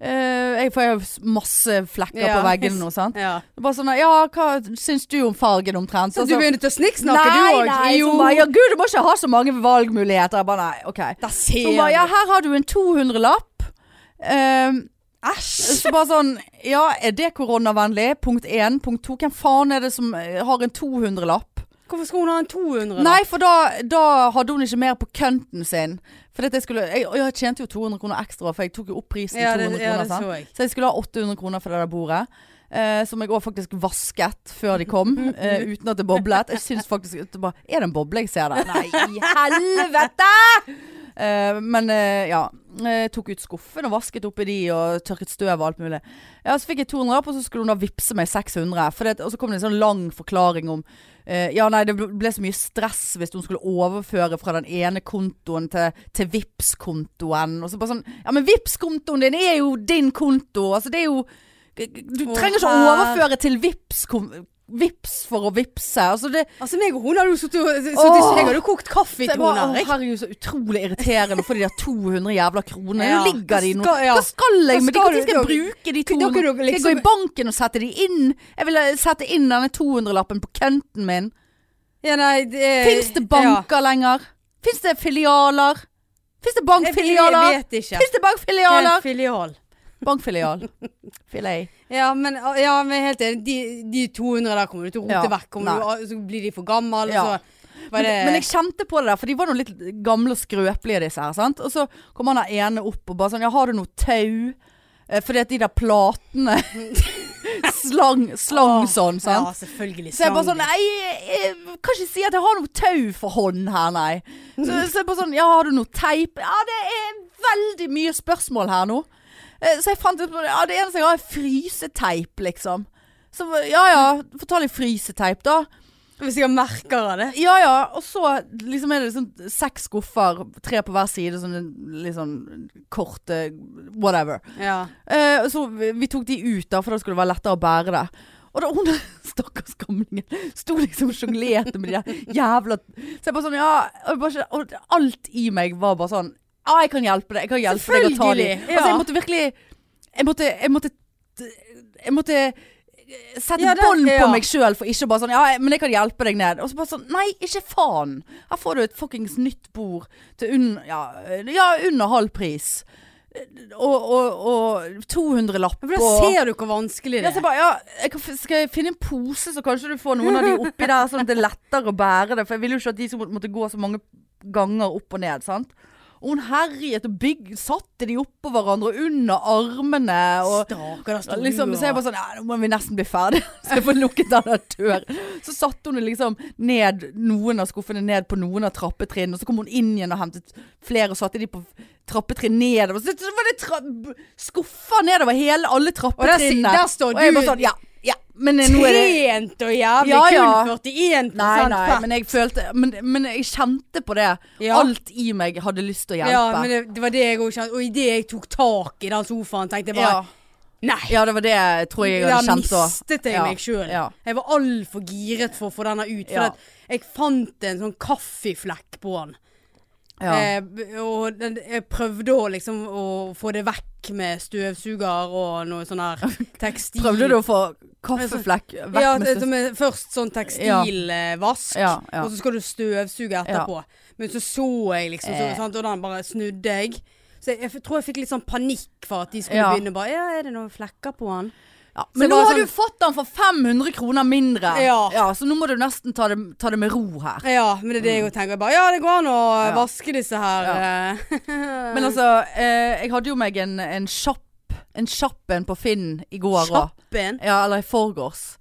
Eh, jeg får jo masse flekker Ja. på veggene nå, sant. ja. Det var sånn Ja, hva syns du om fargen omtrent? Så Og du begynte å snikksnakke, du Nei, òg? nei. Så bare, ja, gud, du må ikke ha så mange valgmuligheter. Jeg bare nei, OK. Der Så hun bare ser Ja, her har du en 200-lapp. Ehm, Æsj! så bare sånn Ja, er det koronavennlig? Punkt én. Punkt to. Hvem faen er det som eh, har en 200-lapp? Hvorfor skulle hun ha en 200? da? Nei, for da, da hadde hun ikke mer på kønten sin. For jeg, skulle, jeg, og jeg tjente jo 200 kroner ekstra, for jeg tok jo opp prisen ja, det, 200 ja, kroner. det sant? så jeg. Så jeg skulle ha 800 kroner for det der bordet. Eh, som jeg òg faktisk vasket før de kom, eh, uten at det boblet. Jeg syns faktisk at det bare, Er det en boble jeg ser der? Nei, i helvete! Eh, men eh, ja. Eh, tok ut skuffen og vasket oppi de og tørket støv og alt mulig. Ja, Så fikk jeg 200 opp, og så skulle hun da vippse meg 600. For det, og så kom det en sånn lang forklaring om eh, Ja, nei, det ble så mye stress hvis hun skulle overføre fra den ene kontoen til, til Vipps-kontoen. Og så bare sånn Ja, men Vipps-kontoen din er jo din konto. Altså, det er jo Du Å, trenger ikke å her- overføre til Vipps kon- Vips for å vippse. Altså det, Altså, meg og hun hadde jo sittet og sittet- Åh! Jeg hadde jo kokt kaffe i det to var, her. å, herregud, så utrolig irriterende å få de der 200 jævla kronene. Ja. Nå ligger de nå. Skal- ja. Hva skal jeg Hva med de? skal Når skal jeg du- bruke de Dere- dere 200? Skal jeg gå liksom- i banken og sette de inn? Jeg ville sette inn denne 200-lappen på kønten min. Eh, Ja, nei, det er- Fins det banker lenger? Fins det filialer? Fins det Jeg vet- bankfilialer? vet ikke. Fins det Det er en bankfilialer? Filial. Bankfilial. Filet. Ja, men, ja, men helt enig. De, de 200 der kommer du til å rote Ja, vekk. Kommer du, så blir de for gamle. Ja. Så var Men, det, men jeg kjente på det der, for de var nå litt gamle og skrøpelige disse her, sant. Og så kom han der ene opp og bare sånn, ja har du noe tau? Eh, Fordi at de der platene slang, slang Åh, sånn, sant. Ja, selvfølgelig. Så jeg bare sånn slang de. Nei, jeg jeg kan ikke si at jeg har noe tau for hånd her, nei. Så, så jeg bare sånn Ja, har du noe teip? Ja, det er veldig mye spørsmål her nå. Eh, Så jeg fant ut på det. Ja, det eneste jeg har, er fryseteip, liksom. Så ja ja, få ta litt fryseteip, da. Hvis jeg har merker av det. Ja ja, og så liksom er det sånn seks skuffer, tre på hver side, sånne litt sånn korte Whatever. Ja. Eh, og så vi, vi tok de ut da, for da skulle det være lettere å bære det. Og da hun stakkars gamlingen sto liksom og sjonglerte med de der jævla Så jeg bare sånn, ja og jeg bare, ikke- og Alt i meg var bare sånn Ja, jeg kan hjelpe deg. Jeg kan hjelpe deg å ta de. Selvfølgelig, ja. Altså, jeg måtte virkelig Jeg måtte Jeg måtte, jeg måtte eh, sette Ja, det- bånd på ja. meg sjøl for ikke bare sånn Ja, jeg- men jeg kan hjelpe deg ned. Og så bare sånn Nei, ikke faen. Her får du et fuckings nytt bord til un, ja, ja, under halv pris. Og, og, og 200 lapp For da og ser du hvor vanskelig ja, det så jeg er. bare, ja, jeg kan, f- Skal jeg finne en pose, så kanskje du får noen av de oppi der, sånn at det er lettere å bære det. For jeg ville jo ikke at de som måtte gå så mange ganger opp og ned. sant? Og hun herjet og bygg, satte de oppå hverandre og under armene. Og, Stakkar, der ja, står liksom, du så jeg og- bare sånn, ja, nå må vi nesten bli ferdig Så jeg får lukket den dør Så satte hun liksom ned Noen av skuffene ned på noen av trappetrinn Og så kom hun inn igjen og hentet flere Og satte de på trappetrinn nedover Så så var det tra b- skuffer nedover hele alle Og der, trappetrinnene der står Og jeg bare du sånn, ja, ja Men nå er det trent og jævlig Ja, ja. kul 41 Nei, nei, fett. men jeg følte Men, men jeg kjente på det Ja. Alt i meg hadde lyst til å hjelpe Ja, men det, det var det jeg òg kjente. Og idet jeg tok tak i den sofaen, tenkte jeg bare Ja. Nei! Ja, det var det jeg tror jeg hadde Der kjent også. mistet jeg Ja, meg sjøl. ja. Jeg var altfor giret for å få denne ut. For Ja. at jeg fant en sånn kaffeflekk på den. ja. Eh, b- og den, jeg prøvde å liksom å få det vekk med støvsuger og noe sånn her tekstil. Prøvde du å få kaffeflekk vekk ja, med det- støvsugeren? som er først sånn tekstilvask, Ja, ja. og så skal du støvsuge etterpå. Men så så jeg liksom, så, Eh. sant, og den bare snudde jeg. Så jeg, jeg f- tror jeg fikk litt sånn panikk for at de skulle Ja. begynne bare Ja, er det noen flekker på den? Ja, det men nå var har sånn- du fått den for 500 kroner mindre. Ja. Så nå må du nesten ta det, ta det med ro her. Ja, men det er det jeg tenker. Jeg bare, ja, det går an å mm. Ja. vaske disse her. Men altså, eh, jeg hadde jo meg en, en kjapp en kjapp en på Finn i går òg. Kjappen. Ja, eller i forgårs.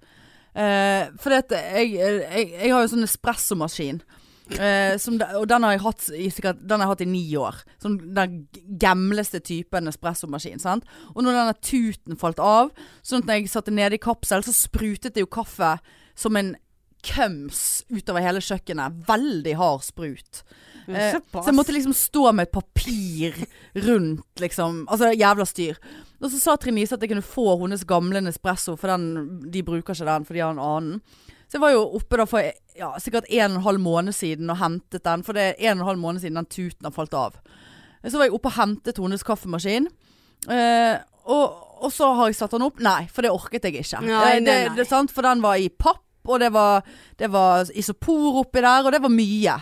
Eh, for dette, jeg, jeg, jeg har jo sånn espressomaskin. Eh, som de, og den har jeg hatt i, sikkert, den har jeg hatt i ni år. Sånn den gamleste typen espressomaskin. Sant? Og når denne tuten falt av, sånn at når jeg satte den nede i kapsel, så sprutet det jo kaffe som en køms utover hele kjøkkenet. Veldig hard sprut. Eh, Såpass. Så jeg måtte liksom stå med et papir rundt, liksom. Altså jævla styr. Og så sa Trine Lise at jeg kunne få hennes gamle Nespresso, for den, de bruker ikke den, for de har en annen. Så jeg var jo oppe da for ja, sikkert en og en halv måned siden og hentet den, for det er en og en halv måned siden den tuten har falt av. Så var jeg oppe og hentet hennes kaffemaskin. Eh, og, og så har jeg satt den opp. Nei, for det orket jeg ikke. Eh, Nei, nei, det, nei. Det, sant? For den var i papp, og det var, det var isopor oppi der, og det var mye.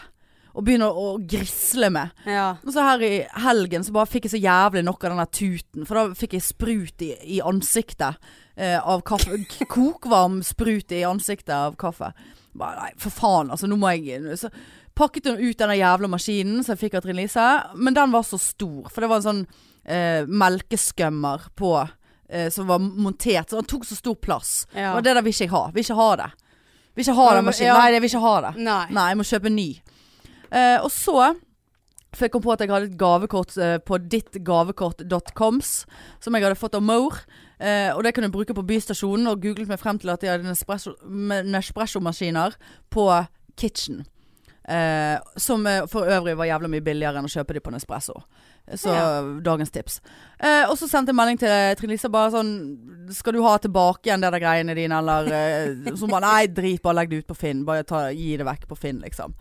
Å begynne å, å grisle med. ja. Og så her i helgen så bare fikk jeg så jævlig nok av den der tuten, for da fikk jeg sprut i, i ansiktet. Eh, av kaffe. k- Kokvarm sprut i ansiktet av kaffe. Bare, nei, for faen, altså. Nå må jeg så, Pakket hun ut denne jævla maskinen som jeg fikk av Trine Lise, men den var så stor. For det var en sånn eh, melkeskummer på eh, som var montert, så den tok så stor plass. Ja. Og det der vil ikke jeg ha. Vil ikke ha det. Vil ikke ha Ja, den maskinen. ja. Nei, jeg vil ikke ha det. Nei. Nei, jeg må kjøpe en ny. Eh, og så For jeg kom på at jeg hadde et gavekort eh, på dittgavekort.coms, som jeg hadde fått av Moore. Eh, og det kunne jeg bruke på Bystasjonen, og googlet meg frem til at de hadde Nespresso- med Nespresso-maskiner på Kitchen. Eh, som eh, for øvrig var jævla mye billigere enn å kjøpe de på Nespresso. Så dagens tips. Eh, og så sendte jeg melding til Trine Lise bare sånn Skal du ha tilbake igjen det der greiene dine, eller eh, Så hun bare nei, drit, bare legg det ut på Finn. Bare ta, gi det vekk på Finn, liksom.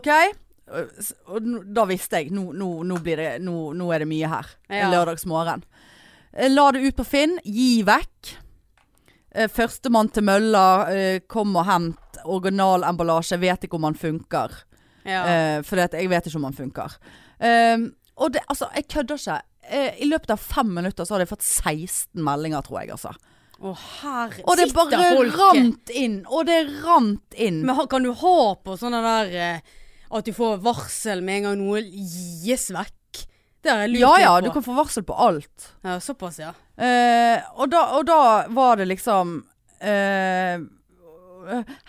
OK? Eh, s- Og nå- da visste jeg. Nå, nå, nå, blir det, nå, nå er det mye her. Ja. En lørdagsmorgen. Eh, La det ut på Finn. Gi vekk. Eh, Førstemann til mølla. eh, Kom og hent. Originalemballasje. Vet ikke om han funker. Ja. Eh, for det, at jeg vet ikke om han funker. Ehm, og det, altså, jeg kødder ikke. Eh, I løpet av fem minutter så hadde jeg fått 16 meldinger, tror jeg, altså. Å herre Og det Sitter bare folk- rant inn. Og det rant inn. Men ha- kan du ha på sånne der eh, At du får varsel med en gang noe gis vekk? Det har jeg lurt Ja litt ja, på. du kan få varsel på alt. ja, Såpass, ja. Eh, og, da, og da var det liksom eh,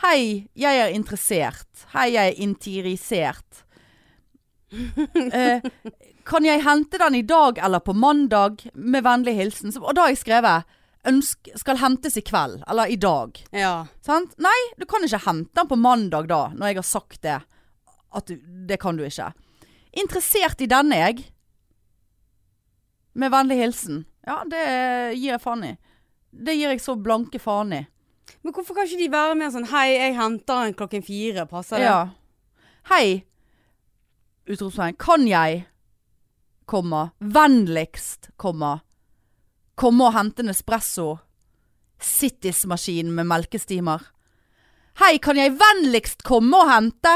Hei, jeg er interessert. Hei, jeg er interisert. Eh, kan jeg hente den i dag eller på mandag? Med vennlig hilsen. Så, og da har jeg skrevet Ønsk, 'skal hentes i kveld' eller 'i dag'. ja. Sant? Nei, du kan ikke hente den på mandag da, når jeg har sagt det. At du, det kan du ikke. Interessert i denne, jeg. Med vennlig hilsen. Ja, det gir jeg faen i. Det gir jeg så blanke faen i. Men hvorfor kan ikke de være mer sånn Hei, jeg henter en klokken fire, passer det? Ja. Hei, utropstegn. Kan jeg, komma, vennligst, komma, komme og hente en espresso? Citysmaskin med melkestimer. Hei, kan jeg vennligst komme og hente?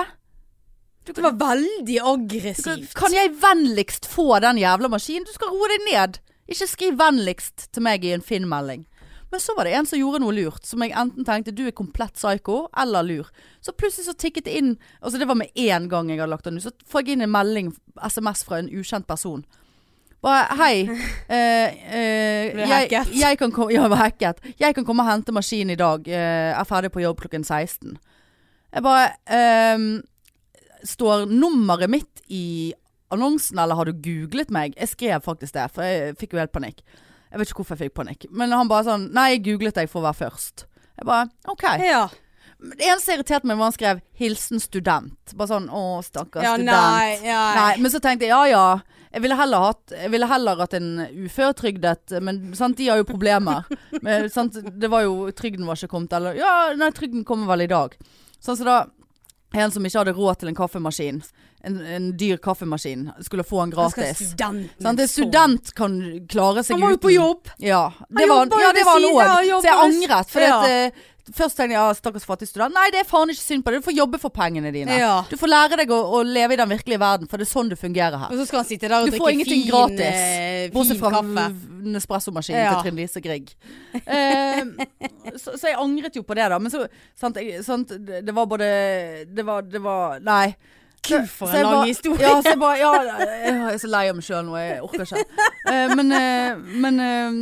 Det var veldig Kan, aggressivt. kan jeg vennligst få den jævla maskinen? Du skal roe deg ned. Ikke skriv vennligst til meg i en Finn-melding. Men så var det en som gjorde noe lurt, som jeg enten tenkte du er komplett psyko eller lur. Så plutselig så tikket det inn, altså det var med én gang jeg hadde lagt den ut, så får jeg inn en melding, SMS fra en ukjent person. Bare hei, eh, eh, Ble jeg, hacket. jeg, kan komme, ja, jeg, ble hacket. jeg kan komme og hente maskinen i dag, eh, er ferdig på jobb klokken 16. Jeg bare ehm, Står nummeret mitt i annonsen, eller har du googlet meg? Jeg skrev faktisk det, for jeg fikk jo helt panikk. Jeg vet ikke hvorfor jeg fikk panikk. Men han bare sånn Nei, jeg googlet deg for å være først. Jeg bare OK. Ja. Men Det eneste som irriterte meg, var han skrev 'hilsen student'. Bare sånn Å, stakkars ja, student. nei, ja. Nei, men så tenkte jeg ja ja. Jeg ville heller hatt, jeg ville heller hatt en uføretrygdet, men sant, de har jo problemer. Men, sant, det var jo, trygden var ikke kommet, eller ja, nei, trygden kommer vel i dag. Sånn så da, en som ikke hadde råd til en kaffemaskin, en, en dyr kaffemaskin, skulle få en Han skal gratis. studenten Sant, en så- student kan klare seg Han var jo på uten. jobb. Ja, det var jobber jo ja, det ved var han siden av òg. jobben. Så jeg angret. For eh, Ja. først tenkte jeg ja, stakkars fattig student. Nei, det er faen ikke synd på deg. Du får jobbe for pengene dine. Ja. Du får lære deg å, å leve i den virkelige verden, for det er sånn det fungerer her. Og så skal han sitte der og Du får drikke ingenting fin, gratis. eh, Bortsett fin fra kaffe. Nespresso-maskinen Ja. til Trine Lise Grieg. Eh, så, så jeg angret jo på det, da. Men så sant, jeg, sant, det det var både Det var, det var Nei. Gud, for Så en jeg lang bare- historie. Ja, så jeg bare ja, Jeg er så lei av meg sjøl nå, jeg orker ikke. Eh, men eh, men eh,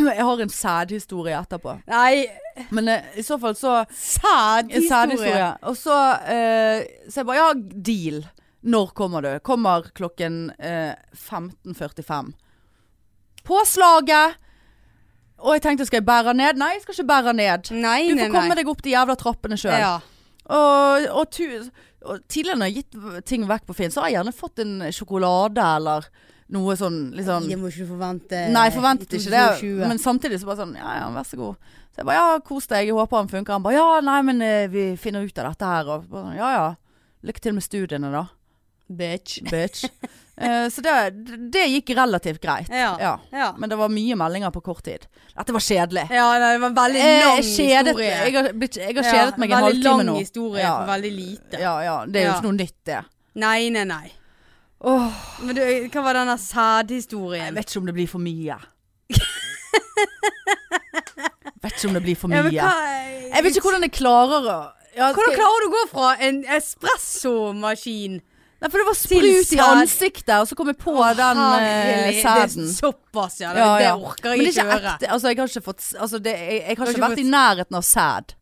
jeg har en sædhistorie etterpå. Nei, Men eh, i så fall så sæd en sædhistorie. Og så eh, Så jeg bare ja, deal. Når kommer du? Kommer klokken eh, 15.45. Påslaget! Og jeg tenkte skal jeg bære ned? Nei, jeg skal ikke bære ned. Nei, Du nei, får nei. komme deg opp de jævla trappene sjøl. Ja. Og, og, tu, og tidligere når jeg har gitt ting vekk på Finn, så har jeg gjerne fått en sjokolade eller noe sånn litt sånn Det må ikke du forvente. Nei, jeg forventet i ikke det. 2020. Men samtidig så bare sånn Ja ja, vær så god. Så jeg bare ja, kos deg, jeg håper han funker. Han bare ja, nei, men eh, vi finner ut av dette her. Og bare, sånn, ja ja. Lykke til med studiene, da. Bitch. Bitch. Eh, så det, det gikk relativt greit. Ja. ja. Ja. Men det var mye meldinger på kort tid. Dette var kjedelig. ja, nei, det var en veldig Eh, lang jeg, kjedet, historie. jeg har, blitt- jeg har kjedet meg en Veldig halvtime lang nå. historie Ja. for veldig lite. Ja ja, det er jo Ja. ikke noe nytt, det. Nei, nei, nei. Åh Men du, hva var denne Jeg sædhistorien? vet ikke om det blir for mye. vet ikke om det blir for mye. Ja, men hva Jeg vet ikke hvordan jeg klarer å ja, Hvordan skal- klarer du å gå fra en espressomaskin Nei, for det var Til sprut i sæd. ansiktet, og så kom jeg på den eh, Herlig, sæden. Det er såpass, ja. Det, Ja, ja. det orker Men jeg det ikke er høre. ekte. Altså, jeg har ikke fått altså, det, jeg, jeg har har ikke ikke vært i nærheten av sæd.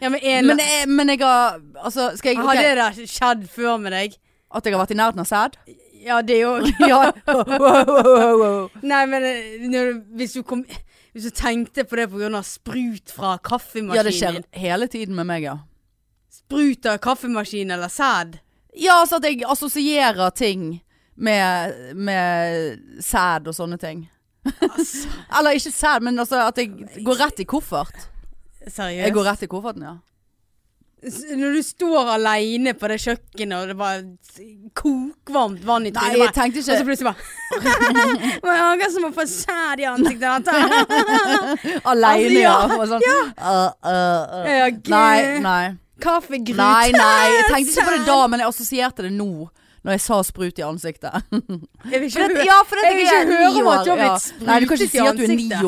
Ja, men en, Men, jeg- men jeg har Altså, skal jeg Har ok, det der skjedd før med deg? At jeg har vært i nærheten av sæd? Ja, det er jo ja. Nei, men eh, når, du- hvis, du kom, hvis du tenkte på det pga. sprut fra kaffemaskinen ja, det skjer hele tiden med meg, ja. Sprut av kaffemaskin eller sæd? Ja, altså at jeg assosierer ting med, med sæd og sånne ting. Altså, Eller ikke sæd, men altså at jeg går rett i koffert. seriøst? Jeg går rett i kofferten, ja. S- Når du står aleine på det kjøkkenet, og det bare s- kokvarmt vann i Nei, trynet jeg bare- tenkte Og så ikke plutselig bare Må jeg akkurat som å få sæd i ansiktet dette. aleine, Altså, ja. ja, Og Sånn, uh, uh, uh. Ja, gud. Nei, nei. Kaffegrut. Nei, nei. Jeg tenkte ikke på det da, men jeg assosierte det nå. Når jeg sa sprut i ansiktet. Jeg vil For ikke, det, høre- ja, for det, jeg vil ikke er høre ni om at du har år, ja. blitt Nei, du kan ikke sprutet si i at du er ni ansiktet.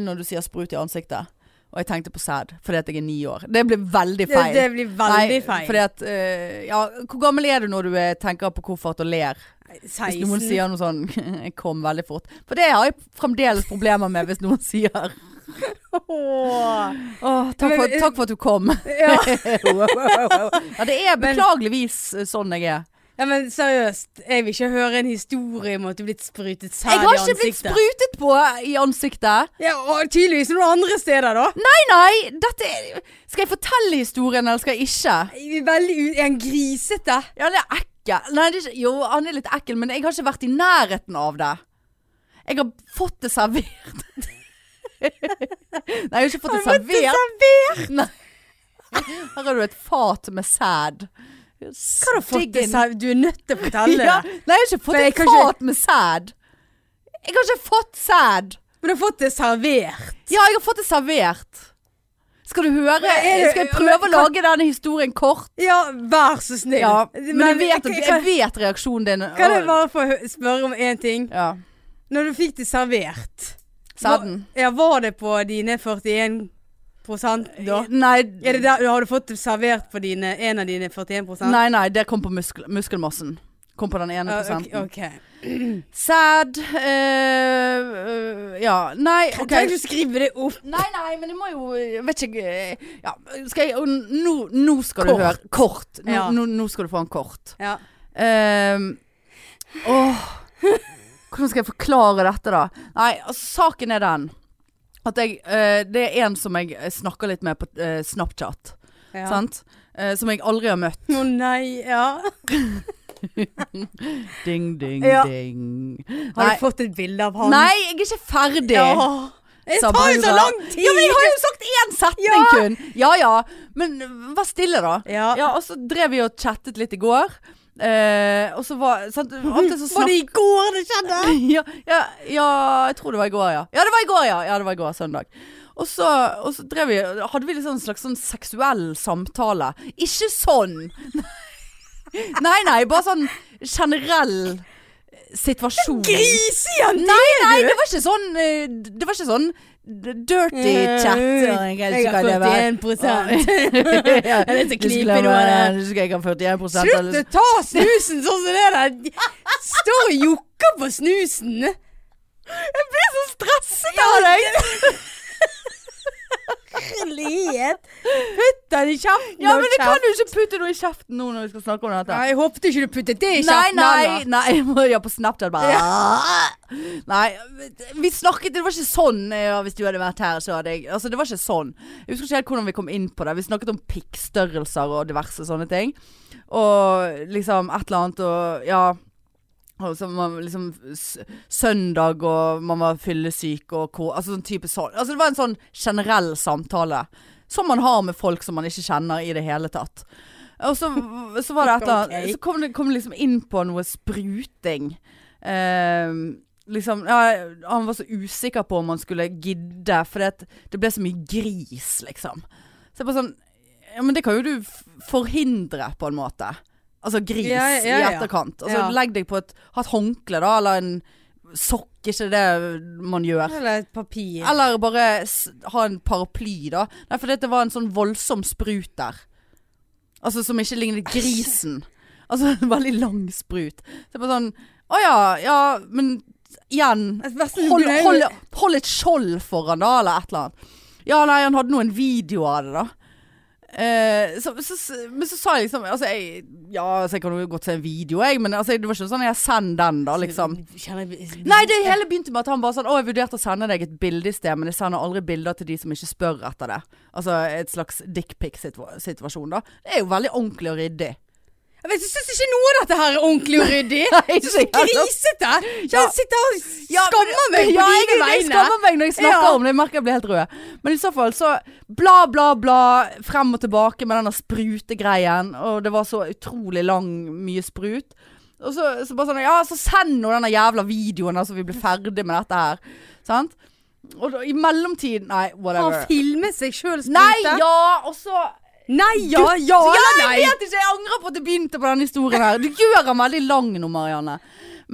år når du sier sprut i ansiktet. Og jeg tenkte på sæd, fordi at jeg er ni år. Det blir veldig det, feil. det blir veldig feil. Fordi at, eh, ja, hvor gammel er du når du eh, tenker på koffert og ler? Hvis noen 16. sier noe sånn 'jeg kom veldig fort'. For det har jeg fremdeles problemer med hvis noen sier Åh. Åh, takk, for, Men- 'takk for at du kom'. Ja. ja, det er Men- beklageligvis eh, sånn jeg er. ja, men seriøst. Jeg vil ikke høre en historie om at du er blitt sprutet sæd i Jeg ansiktet. har ikke blitt sprutet på i ansiktet. Ja, og tydeligvis noen andre steder, da. Nei, nei! Dette er Skal jeg fortelle historien, eller skal jeg ikke? Jeg er Veldig u... En grisete. Ja, han er ekkel. Nei, det er ikke, jo, han er litt ekkel, men jeg har ikke vært i nærheten av det. Jeg har fått det servert. Nei, jeg har ikke fått det Har fått det servert. Nei. Her har du et fat med sæd. Hva Hva har du fått det sæd? Du er nødt til å fortelle Ja, det. nei, jeg har ikke For fått jeg et kan ikke- fat med sæd. Jeg har ikke fått sæd. Men du har fått det servert. Ja, jeg har fått det servert. Skal du høre? Men er det- Skal jeg prøve men å lage denne historien kort? Ja, vær så snill. Ja, men jeg vet, at- jeg kan, vet reaksjonen din. kan jeg bare få hø- spørre om én ting? Ja. Når du fikk det servert Sæden. var- Ja, var det på dine 41 da? Nei, Er det der, har du fått det servert på dine, en av dine 41 nei, nei, det kom på muskel, muskelmassen. Kom på den ene Ah, ok- prosenten. ok. Sad eh, eh, Ja, nei, Kan OK. Trenger du skrive det opp? Nei, nei, men det må jo jeg Vet ikke eh, ja, Skal jeg Nå, nå skal Kort. du høre. Kort. Nå, Ja. nå, nå skal du få en kort. Ja. Ehm, åh. Hvordan skal jeg forklare dette, da? Nei, altså, saken er den at jeg eh, Det er en som jeg snakker litt med på eh, Snapchat. ja. sant? Eh, som jeg aldri har møtt. Å nei, ja. Ding, ding, Ja. ding. Har Nei. du fått et bilde av han? Nei, jeg er ikke ferdig. Ja. Det Sa tar jo så Barbara. lang tid! Ja, men jeg har jo sagt én setning Ja. kun! Ja ja. Men øh, vær stille, da. Ja. Ja, og så drev vi og chattet litt i går. Eh, og så var sant, Alltid så Var snakk... det i går det skjedde? Ja, ja, ja, jeg tror det var i går, ja. Ja, det var i går, ja. ja det var i går, Søndag. Og så, og så drev vi Hadde vi litt sånn slags sånn seksuell samtale. Ikke sånn! Nei, nei. Bare sånn generell situasjon. Grisejente! Nei, nei, det var ikke sånn eh, Det var ikke sånn d- dirty chat. Jeg har 41 prosent. Jeg lyst til å knipe i noe av det. Jeg har 41 prosent. Slutt å ta snusen sånn som det der. Står og jokker på snusen. Jeg blir så stresset av deg. Herlighet. Putt den i kjeften. Ja, og men det kjeft. kan du ikke putte noe i kjeften nå når vi skal snakke om dette. Nei, Jeg håpet ikke du puttet det i Nei, kjeften. nei, heller. nei, ja, på Snapchat bare Nei, vi snakket, det var ikke sånn ja, Hvis du hadde vært her, så hadde jeg Altså, det var ikke sånn Jeg husker ikke helt hvordan vi kom inn på det Vi snakket om pikkstørrelser og diverse sånne ting Og liksom et eller annet Og ja og så man, liksom, s- søndag og man var fyllesyk og ko- altså, sånn type sånn. altså det var en sånn generell samtale Som man har med folk som man ikke kjenner i det hele tatt Og så, så var det et eller annet Ok. Så kom det kom det liksom inn på noe spruting Ehm, Liksom, ja, han var så usikker på om han skulle gidde For det, det ble så mye gris liksom Så jeg bare sånn Ja, men det kan jo du f- forhindre på en måte Altså gris Ja, ja, ja. i etterkant Altså Ja. legg deg på et, ha et håndkle da, eller en sokk, ikke det man gjør. Eller et papir. Eller bare s ha en paraply, da. Nei, for det var en sånn voldsom sprut der. Altså som ikke lignet grisen. Altså en veldig lang sprut. Så det var sånn Å ja, ja, men igjen Altså, vær så snill, hold, du er jo- hold, hold et skjold foran da, eller et eller annet. Ja, nei, han hadde nå en video av det, da. Eh, så, så, så- men så sa jeg liksom altså jeg, Ja, altså jeg kan jo godt se en video, jeg, men altså, det var ikke sånn jeg send den, da, liksom. Kjenner jeg- Nei, det hele begynte med at han bare sånn Å, jeg vurderte å sende deg et bilde i sted, men jeg sender aldri bilder til de som ikke spør etter det. Altså et slags dickpic-situasjon, da. Det er jo veldig ordentlig og ryddig. Jeg vet, jeg syns ikke noe av dette her er ordentlig og ryddig. Nei, Jeg syns det er grisete. Ja. Jeg sitter og skammer meg på ja, jeg- dine Jeg vegne. skammer meg når jeg snakker Ja. om det. Jeg merker jeg blir helt rød. Men i så fall så bla, bla, bla frem og tilbake med denne sprutegreien. Og det var så utrolig lang, mye sprut. Og så, så bare sånn Ja, så send nå denne jævla videoen, da, så vi blir ferdig med dette her. Sant? Og da, i mellomtiden Nei, Han whatever. filmet seg sjøl Nei, ja, og så Nei! Ja, ja eller Ja, nei? Jeg vet ikke, jeg angrer på at jeg begynte på denne historien her. Du gjør den veldig lang nå, Marianne.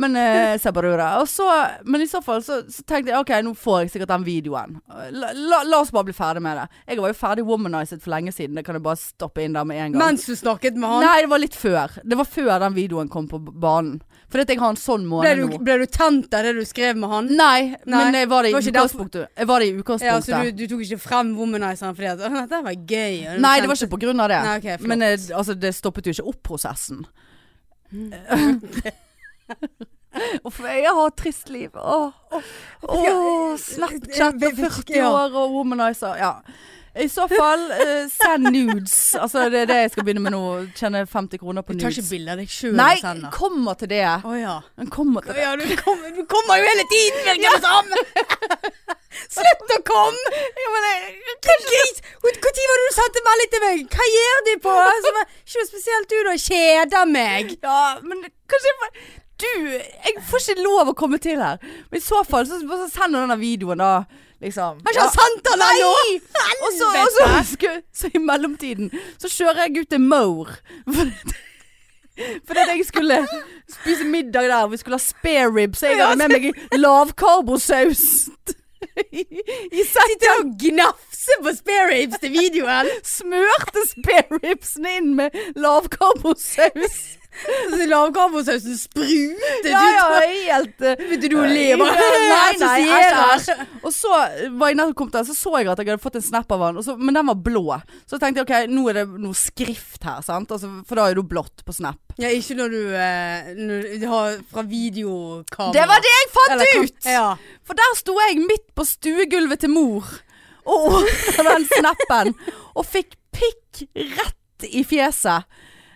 Men eh, se på det, da. Og så, men i så fall så, så tenkte jeg OK, nå får jeg sikkert den videoen. La, la, la oss bare bli ferdig med det. Jeg var jo ferdig womanized for lenge siden. Det kan jeg bare stoppe inn der med en gang. Mens du snakket med han, Nei, det var litt før. Det var før den videoen kom på b- banen. Fordi at jeg har en sånn ble måned du, nå. ble du tent av det du skrev med han? Nei, men jeg var det i det var ikke derfor- utgangspunktet. Jeg var det i Ja, utgangspunktet. så du, du tok ikke frem womanizeren fordi at «Å, 'Dette var gøy'? og du Nei, det var tenkte- ikke på grunn av det. Nei, ok, flott. Men eh, altså, det stoppet jo ikke opp prosessen. Mm. Uff, jeg har et trist liv. Åh, åh, åh, Snapchat og 40 år og womanizer. Ja. I så fall, eh, send nudes. Altså, det er det jeg skal begynne med nå. Tjene 50 kroner på Du tar ikke nudes. bilde av deg sjøl? Nei, kommer til det. Å ja. Den kommer til det. ja du, kommer, du kommer jo hele tiden, virker det som! Slutt å komme! Når var det du sendte melding til meg? Hva gjør du på? Som er ikke noe spesielt du, da. Kjeder meg. Ja, men kanskje jeg får- Du, jeg får ikke lov å komme til her. Men i så fall, så, så send denne videoen, da. Liksom. Har ikke han sendt den ennå? Og så, og så, sku- så i mellomtiden så kjører jeg ut til Moore. Fordi fordi at jeg skulle spise middag der, og vi skulle ha spare rib, så jeg hadde med meg lavkarbosaus. I Sitter sekken og gnafser på spareribs til videoen. smørte spare ribsene inn med lavkarbosaus. Så Lavkarbosausen sprutet Ja, ja, ut. helt eh, Begynte du å le bare? Nei, nei, assosierer. æsj, æsj. Og så var jeg nettopp kommet der, så så jeg at jeg hadde fått en snap av han, og så, men den var blå. Så tenkte jeg ok, nå er det noe skrift her, sant? Altså, for da er det jo blått på snap. Ja, ikke når du, eh, når du har fra videokamera. Det var det jeg fant Eller kam- ut! Ja. For der sto jeg midt på stuegulvet til mor og åpnet den snappen, og fikk pikk rett i fjeset.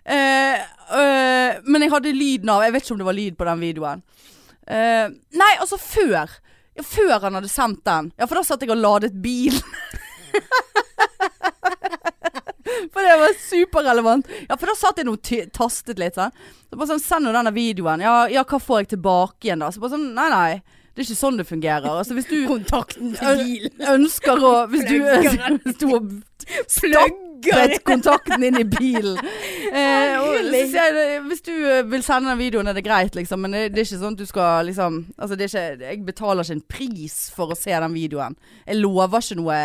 Eh, eh, men jeg hadde lyden av Jeg vet ikke om det var lyd på den videoen. Eh, nei, altså før. Ja, før han hadde sendt den. Ja, for da satt jeg og ladet bilen. for det var superrelevant. Ja, for da satt jeg nå og tastet litt. Sånn. Så bare sånn, Send nå denne videoen. Ja, ja, hva får jeg tilbake igjen da? Så bare sånn, Nei, nei. Det er ikke sånn det fungerer. Altså, hvis du Kontakten til bilen. ø- ønsker å Hvis du, Plugger. hvis du har stappet kontakten inn i bilen eh, og, så Herlig. sier jeg, det, Hvis du ø, vil sende den videoen, er det greit, liksom. Men det, det er ikke sånn at du skal liksom Altså, det er ikke Jeg betaler ikke en pris for å se den videoen. Jeg lover ikke noe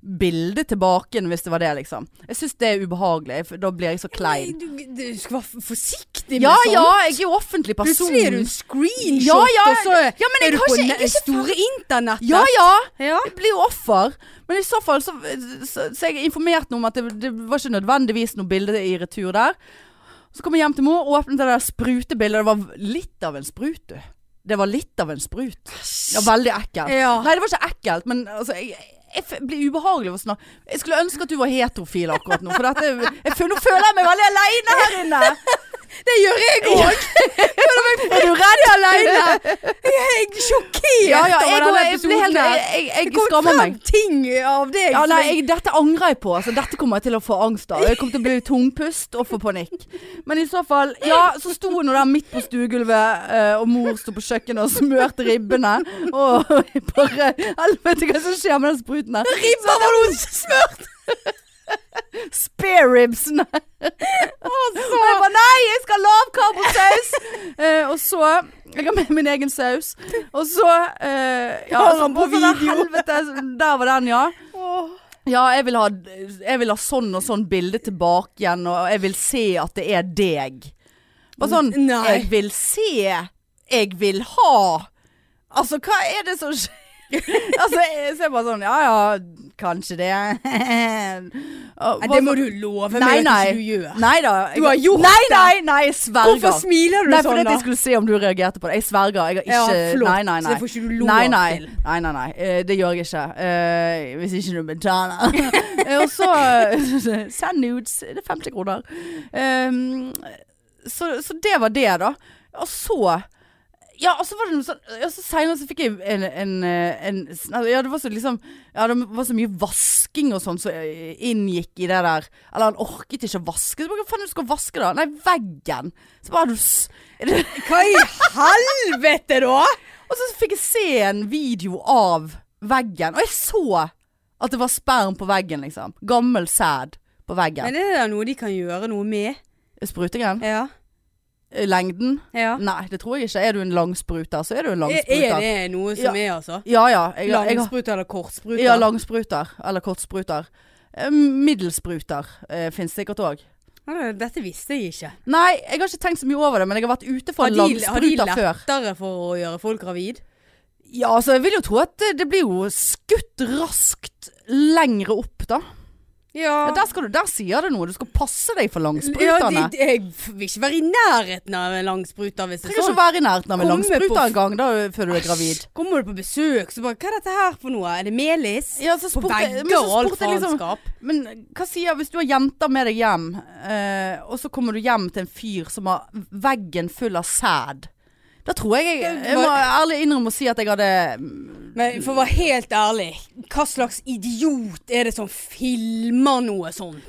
bilde tilbake igjen hvis det var det, liksom. Jeg syns det er ubehagelig. for Da blir jeg så klein. Du, du skal være f- forsiktig med Ja sånt. ja, jeg er jo offentlig person. liksom Plutselig er du en screenshot, Ja, ja, og så ja, men jeg er du har på ikke- jeg er ne- ikke store internettet. Ja ja! Ja. Jeg blir jo offer. Men i så fall så, så, så jeg informerte noe om at det, det var ikke nødvendigvis noe bilde i retur der. Så kom jeg hjem til mor og åpnet det der sprutebildet. Det var litt av en sprut, du. Det var litt av en sprut. Ja, veldig ekkelt. Ja. Nei, det var ikke ekkelt, men altså jeg, jeg f- blir ubehagelig av å snakke Jeg skulle ønske at du var heterofil akkurat nå, for dette jeg føler, Nå føler jeg meg veldig aleine her inne. Det gjør jeg òg. Er du redd Aleine. Jeg er sjokkert Ja, ja. Jeg, jeg, jeg, over denne blir episoden. helt- her. jeg, jeg, jeg, Det kom skammer frem meg. ting av deg. Ja, som nei, jeg- jeg, dette angrer jeg på. Altså, dette kommer jeg til å få angst av. Jeg kommer til å bli tungpust og få panikk. Men i så fall Ja, så sto hun nå der midt på stuegulvet, eh, og mor sto på kjøkkenet og smørte ribbene. Og jeg bare Helvete, hva er det som skjer med den spruten her? Ribba var noe smørt! Spare ribsene. Og jeg bare Nei, jeg skal ha lavkarbosaus! Eh, og så Jeg har med min egen saus. Og så eh, Ja, Har han på og så der, video? Helvete, der var den, ja. Ja, jeg vil, ha, jeg vil ha sånn og sånn bilde tilbake igjen, og jeg vil se at det er deg. Bare sånn Nei. Jeg vil se. Jeg vil ha. Altså, hva er det som skjer? altså, jeg ser bare sånn Ja ja, kanskje det. Og Nei, bare det sånn- må du love meg Nei, at nei. ikke du gjør. Nei da. Du har gjort nei, det. Nei, nei, jeg sverger. Hvorfor smiler du Nei, sånn, fordi at da? jeg skulle se om du reagerte på det. Jeg sverger. Jeg har Ja, ikke flott. Nei, nei, Så nei. det får ikke du lov nei, nei. til. Nei, nei, nei. Eh, Det gjør jeg ikke. Eh, hvis ikke du betaler. Eh, Og så eh, Send nudes. Det er 50 kroner. Ehm, så, så det var det, da. Og så ja, og så var det noe sånn ja, så Senere så fikk jeg en, en, eh, en Ja, det var så liksom Ja, det var så mye vasking og sånn som eh, inngikk i det der Eller han orket ikke å vaske Så bare, hva faen er det du skal vaske da? Nei, veggen Så bare, er du s- er det, Hva i helvete, da? Og så fikk jeg se en video av veggen Og jeg så at det var sperm på veggen liksom Gammel sæd på veggen. Men er det noe de kan gjøre noe med? Sprutingen? Ja. Lengden? ja. Nei, det tror jeg ikke. Er du en langspruter, så er du en Er, langspruter. er det noe som er, altså? Ja ja. Jeg, jeg, har- Langspruter eller kortspruter? ja, langspruter. Eller kortspruter. Eh, Middelspruter eh, finnes sikkert òg. Ja, Dette visste jeg ikke. Nei, jeg har ikke tenkt så mye over det, men jeg har vært ute for Har en de, har de langspruter før. lettere for å gjøre folk gravid? Ja, altså, jeg vil jo tro at det, det blir jo skutt raskt lengre opp, da. Ja, der, skal du, der sier det noe. Du skal passe deg for Ja, langspruterne. de, jeg vil ikke være i nærheten av en langspruter hvis det er Trenger ikke sånn. å være i nærheten av en Komme langspruter på- engang før du er gravid. Kommer du på besøk, så bare Hva er dette her for noe? Er det melis? Ja, så På spurte, jeg- men vegger så og alt spurte jeg liksom faenskap? Men hva sier hvis du har jenter med deg hjem, eh, og så kommer du hjem til en fyr som har veggen full av sæd? Da tror jeg jeg, jeg må ærlig innrømme å si at jeg hadde Men for å være helt ærlig, hva slags idiot er det som filmer noe sånt?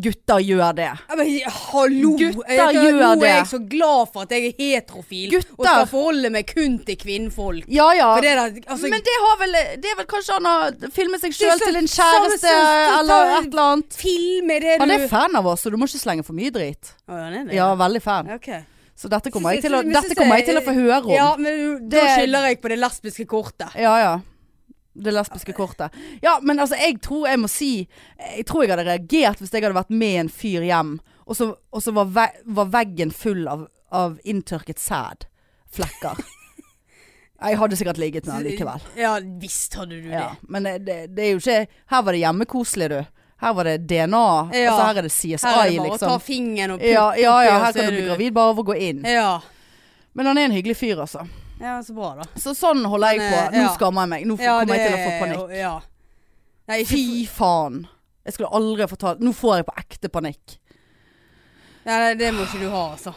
Gutter gjør det. Ja, Men, hallo! Gutter Jeg- gjør Nå er jeg det. så glad for at jeg er heterofil og Gutter. skal forholde meg kun til kvinnfolk. Ja ja. For det er da, altså, Men det har vel Det er vel kanskje han har filmet seg sjøl så- til en samme som- kjæreste eller et eller annet. film er det du Han er fan av oss, så du må ikke slenge for mye drit. Å, han er det? Ja, veldig fan. Ok. Så dette kommer jeg til å, Men synes dette kommer jeg til å få høre om. Ja, men du- da Det- skylder jeg på det lesbiske kortet. Ja, ja. Det lesbiske kortet. Ja, men altså, jeg tror jeg må si Jeg tror jeg hadde reagert hvis jeg hadde vært med en fyr hjem, og så, og så var, ve var veggen full av, av inntørket sæd. Flekker. Jeg hadde sikkert ligget med han likevel. Ja, visst hadde du Ja, det. men det, det er jo ikke Her var det hjemmekoselig, du. Her var det DNA. Ja. Og så her er det Her er det CSI, bare å ta liksom. fingeren og putte Ja, ja, ja, oppi, og her så er kan du bli gravid bare av å gå inn. Ja. Men han er en hyggelig fyr, altså. ja, så bra da. Så sånn holder jeg på. Men, Nå eh, ja. skammer jeg meg. Nå Ja, kommer jeg til å få det- panikk. Ja. Nei, ikke, Fy faen. Jeg skulle aldri fortalt Nå får jeg på ekte panikk. nei, nei, det må ikke du ha, altså.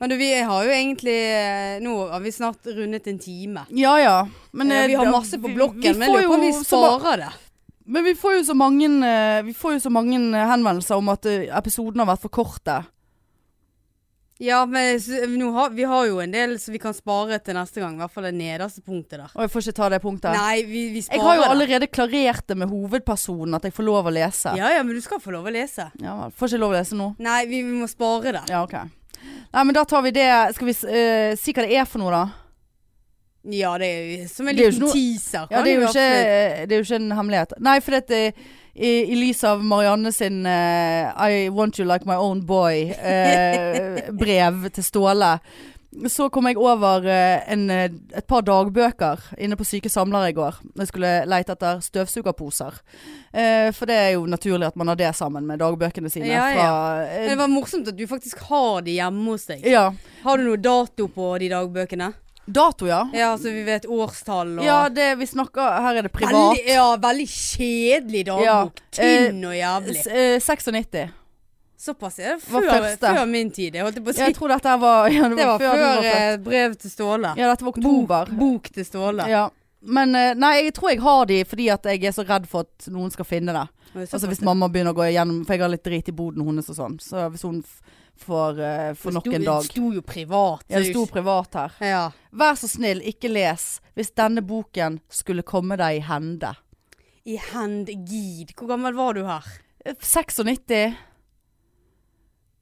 Men du, vi har jo egentlig eh, Nå har vi snart rundet en time. Ja ja. Men Eh, eh, vi har da- masse på vi- blokken, vi men får lurer på om vi jo så ma- sparer det. Men vi får jo så mange eh, Vi får jo så mange eh, henvendelser om at eh, episodene har vært for korte. Ja, men s- nå har, vi har jo en del så vi kan spare til neste gang. I hvert fall det nederste punktet der. Og jeg får ikke ta det punktet. Nei, vi, vi sparer jeg har jo det. allerede klarert det med hovedpersonen at jeg får lov å lese. Ja, ja, men du skal få lov å lese. Ja vel. Får ikke lov å lese nå? Nei, vi, vi må spare det. Ja, OK. Nei, men da tar vi det Skal vi s- eh, si hva det er for noe, da? Ja, det er jo som en Det er jo ikke liten noe- teaser. Ja, kan det er, jo vi absolutt- ikke, det er jo ikke en hemmelighet. Nei, for dette i, i lys av Marianne sin eh, I want you like my own boy-brev til Ståle, så kom jeg over eh, en, eh, et par dagbøker inne på Syke samlere i går. Jeg skulle leite etter støvsugerposer. Eh, for det er jo naturlig at man har det sammen med dagbøkene sine. Ja, ja. Fra, Men eh, Det var morsomt at du faktisk har de hjemme hos deg. ja. Har du noe dato på de dagbøkene? Dato, ja. Ja, så vi vet årstall og Ja, det vi snakker Her er det privat. Veldig, ja, veldig kjedelig dagbok. Ja, eh, Tynn og jævlig. S- eh, 96. Såpass er det var før, første. før min tid. Jeg holdt på å Ja, si. jeg tror dette her var ja, Det var du før var født. eh, brev til Ståle. Ja, dette var oktober. Bok til Ståle. Ja. Men eh, nei, jeg tror jeg har de fordi at jeg er så redd for at noen skal finne det. Altså Hvis mamma begynner å gå igjennom, for jeg har litt drit i boden hennes og sånn. Så hvis hun f får, eh, får nok en Det dag sto jo privat. Ja, det sto privat her. ja. Vær så snill, ikke les hvis denne boken skulle komme deg i hende. I hand gid. Hvor gammel var du her? Eh, 96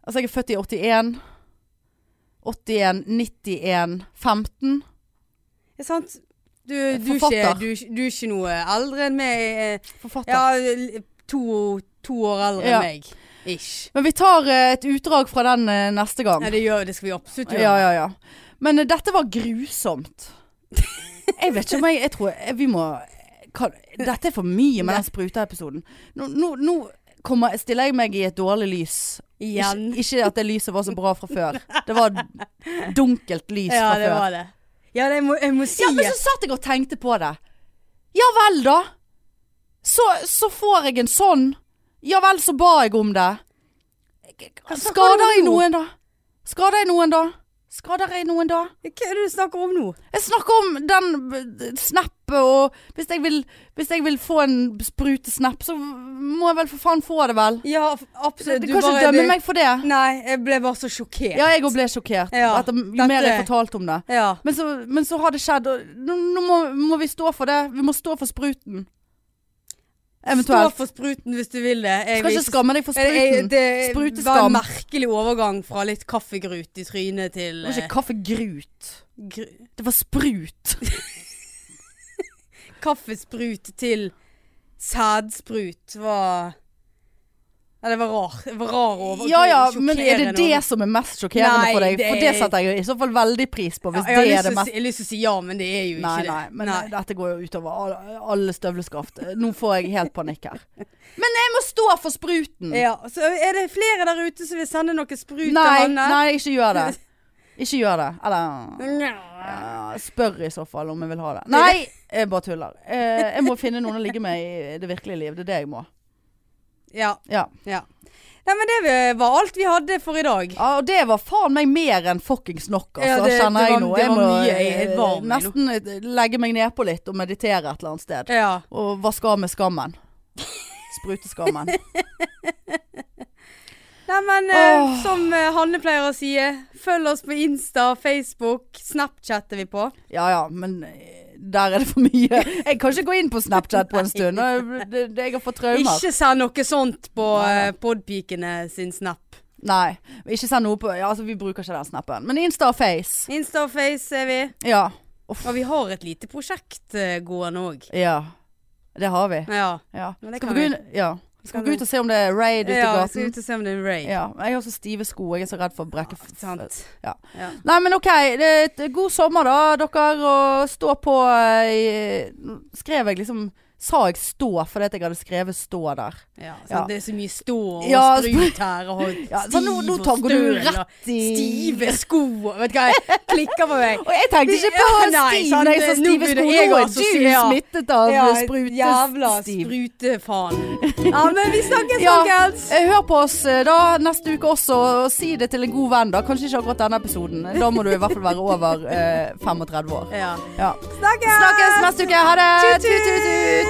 Altså, jeg er født i 81. 81, 91, 15. Er sant? Du, du, er ikke, Forfatter. du, er ikke- du er ikke noe eldre enn meg. eh, Forfatter. Ja, l- to, to år eldre Ja. enn meg. Ish. Men vi tar eh, et utdrag fra den eh, neste gang. Ja, det, gjør, det skal vi absolutt gjøre. Ja, ja, ja. Men eh, dette var grusomt. Jeg vet ikke om jeg Jeg tror jeg, vi må kan, Dette er for mye med den spruteepisoden. Nå, nå, nå kommer, stiller jeg meg i et dårlig lys. Ikke, Igjen. ikke at det lyset var så bra fra før. Det var dunkelt lys Ja, fra det før. var det. Ja, det må, jeg må si Ja, men så satt jeg og tenkte på det. Ja vel, da. Så, så får jeg en sånn. Ja vel, så ba jeg om det. snakker du Skader om jeg nå? noen da? Skader jeg noen da? Skader jeg noen da? Hva er det du snakker om nå? Jeg snakker om den b- snappet og hvis jeg, vil, hvis jeg vil få en sprutesnapp, så må jeg vel for faen få det, vel? Ja, f- Du kan absolutt. Du ikke bare- dømme det- meg for det. Nei, jeg ble bare så sjokkert. Ja, jeg òg ble sjokkert Ja, etter jo dette- mer jeg fortalte om det. Ja. Men så, men så har det skjedd, og nå, nå må, må vi stå for det. Vi må stå for spruten. Stå Eventuelt. for spruten hvis du vil det. Jeg Skal vil ikke skamme deg for Jeg- jeg- spruten. Det var Spruteskam. en merkelig overgang fra litt kaffegrut i trynet til Det var eh, ikke kaffegrut. gru- Det var sprut. kaffesprut til sædsprut. Var Ja, det var rar. Det var rar overgang. Ja ja, men er det Sjokkerende det som er mest sjokkerende Nei, for deg? det For det er- setter jeg jo i så fall veldig pris på, hvis Ja, jeg det har lyst er det til å mest si- Jeg har lyst til å si ja, men det er jo ikke Nei, det. nei, men dette går jo utover all- alle støvleskaft. Nå får jeg helt panikk her. Men jeg må stå for spruten! Ja, så er det flere der ute som vil sende noe Nei, sprut til Hanne? nei, ikke gjør det. Ikke gjør det. Eller Nja. ja, Spør i så fall om jeg vil ha det. Nei! Jeg bare tuller. Eh, Jeg må finne noen å ligge med i det virkelige liv. Det er det jeg må. Ja, Ja. ja. Nei, men det var alt vi hadde for i dag. Ja, og det var faen meg mer enn fuckings nok, altså. Ja, det- kjenner det jeg var- nå. det Jeg var må mye. Jeg er varm i nå. nesten eh, legge meg nedpå litt og meditere et eller annet sted. Ja. Og vaske av med skammen. Spruteskammen. Nei, men eh, Åh. som eh, Hanne pleier å si, eh, følg oss på Insta, Facebook, Snapchat er vi på. Ja ja, men eh, der er det for mye. Jeg kan ikke gå inn på Snapchat på en stund. og det- det- Jeg har fått traumer. Ikke send noe sånt på Nei, nei. eh, Podpikene sin Snap. Nei. Ikke send noe på Ja, altså, vi bruker ikke den snappen. Men Insta og Face. Insta og Face er vi. Ja. Og vi har et lite prosjekt eh, gående òg. Ja. Det har vi. Ja. Ja. Men det Skal kan vi gå vi- inn, ja. Skal vi vi- gå ut og se om det er raid ute i ja, vi skal gaten? ut og se om det er Ray. Ja. Jeg har så stive sko. Jeg er så redd for å brekke f- Sant. Ja. Ja. Nei, men OK. Det, er et- god sommer, da, dere. Og stå på eh, i- Skrev jeg liksom Sa jeg stå fordi at jeg hadde skrevet stå der? Ja, sant? Ja. Det er så mye stå og Ja, sprut her og stiv Ja, så nå, nå tar, og går du støl og rett i Stive sko og Vet du hva, jeg klikker på meg. Og jeg tenkte ikke på Ja, nei, stiv sant, når jeg sa nå stive begynner sko. jeg Nå å er du assosiere. smittet av Ja, jævla sprutestiv. sprutefaen. Ja, men vi snakkes, Ja, folkens. eh, hør på oss eh, da neste uke også, og si det til en god venn. da Kanskje ikke akkurat denne episoden. Da må du i hvert fall være over eh, 35 år. Ja. Ja. Snakkes! Snakkes neste uke. Ha det! Tut, tut!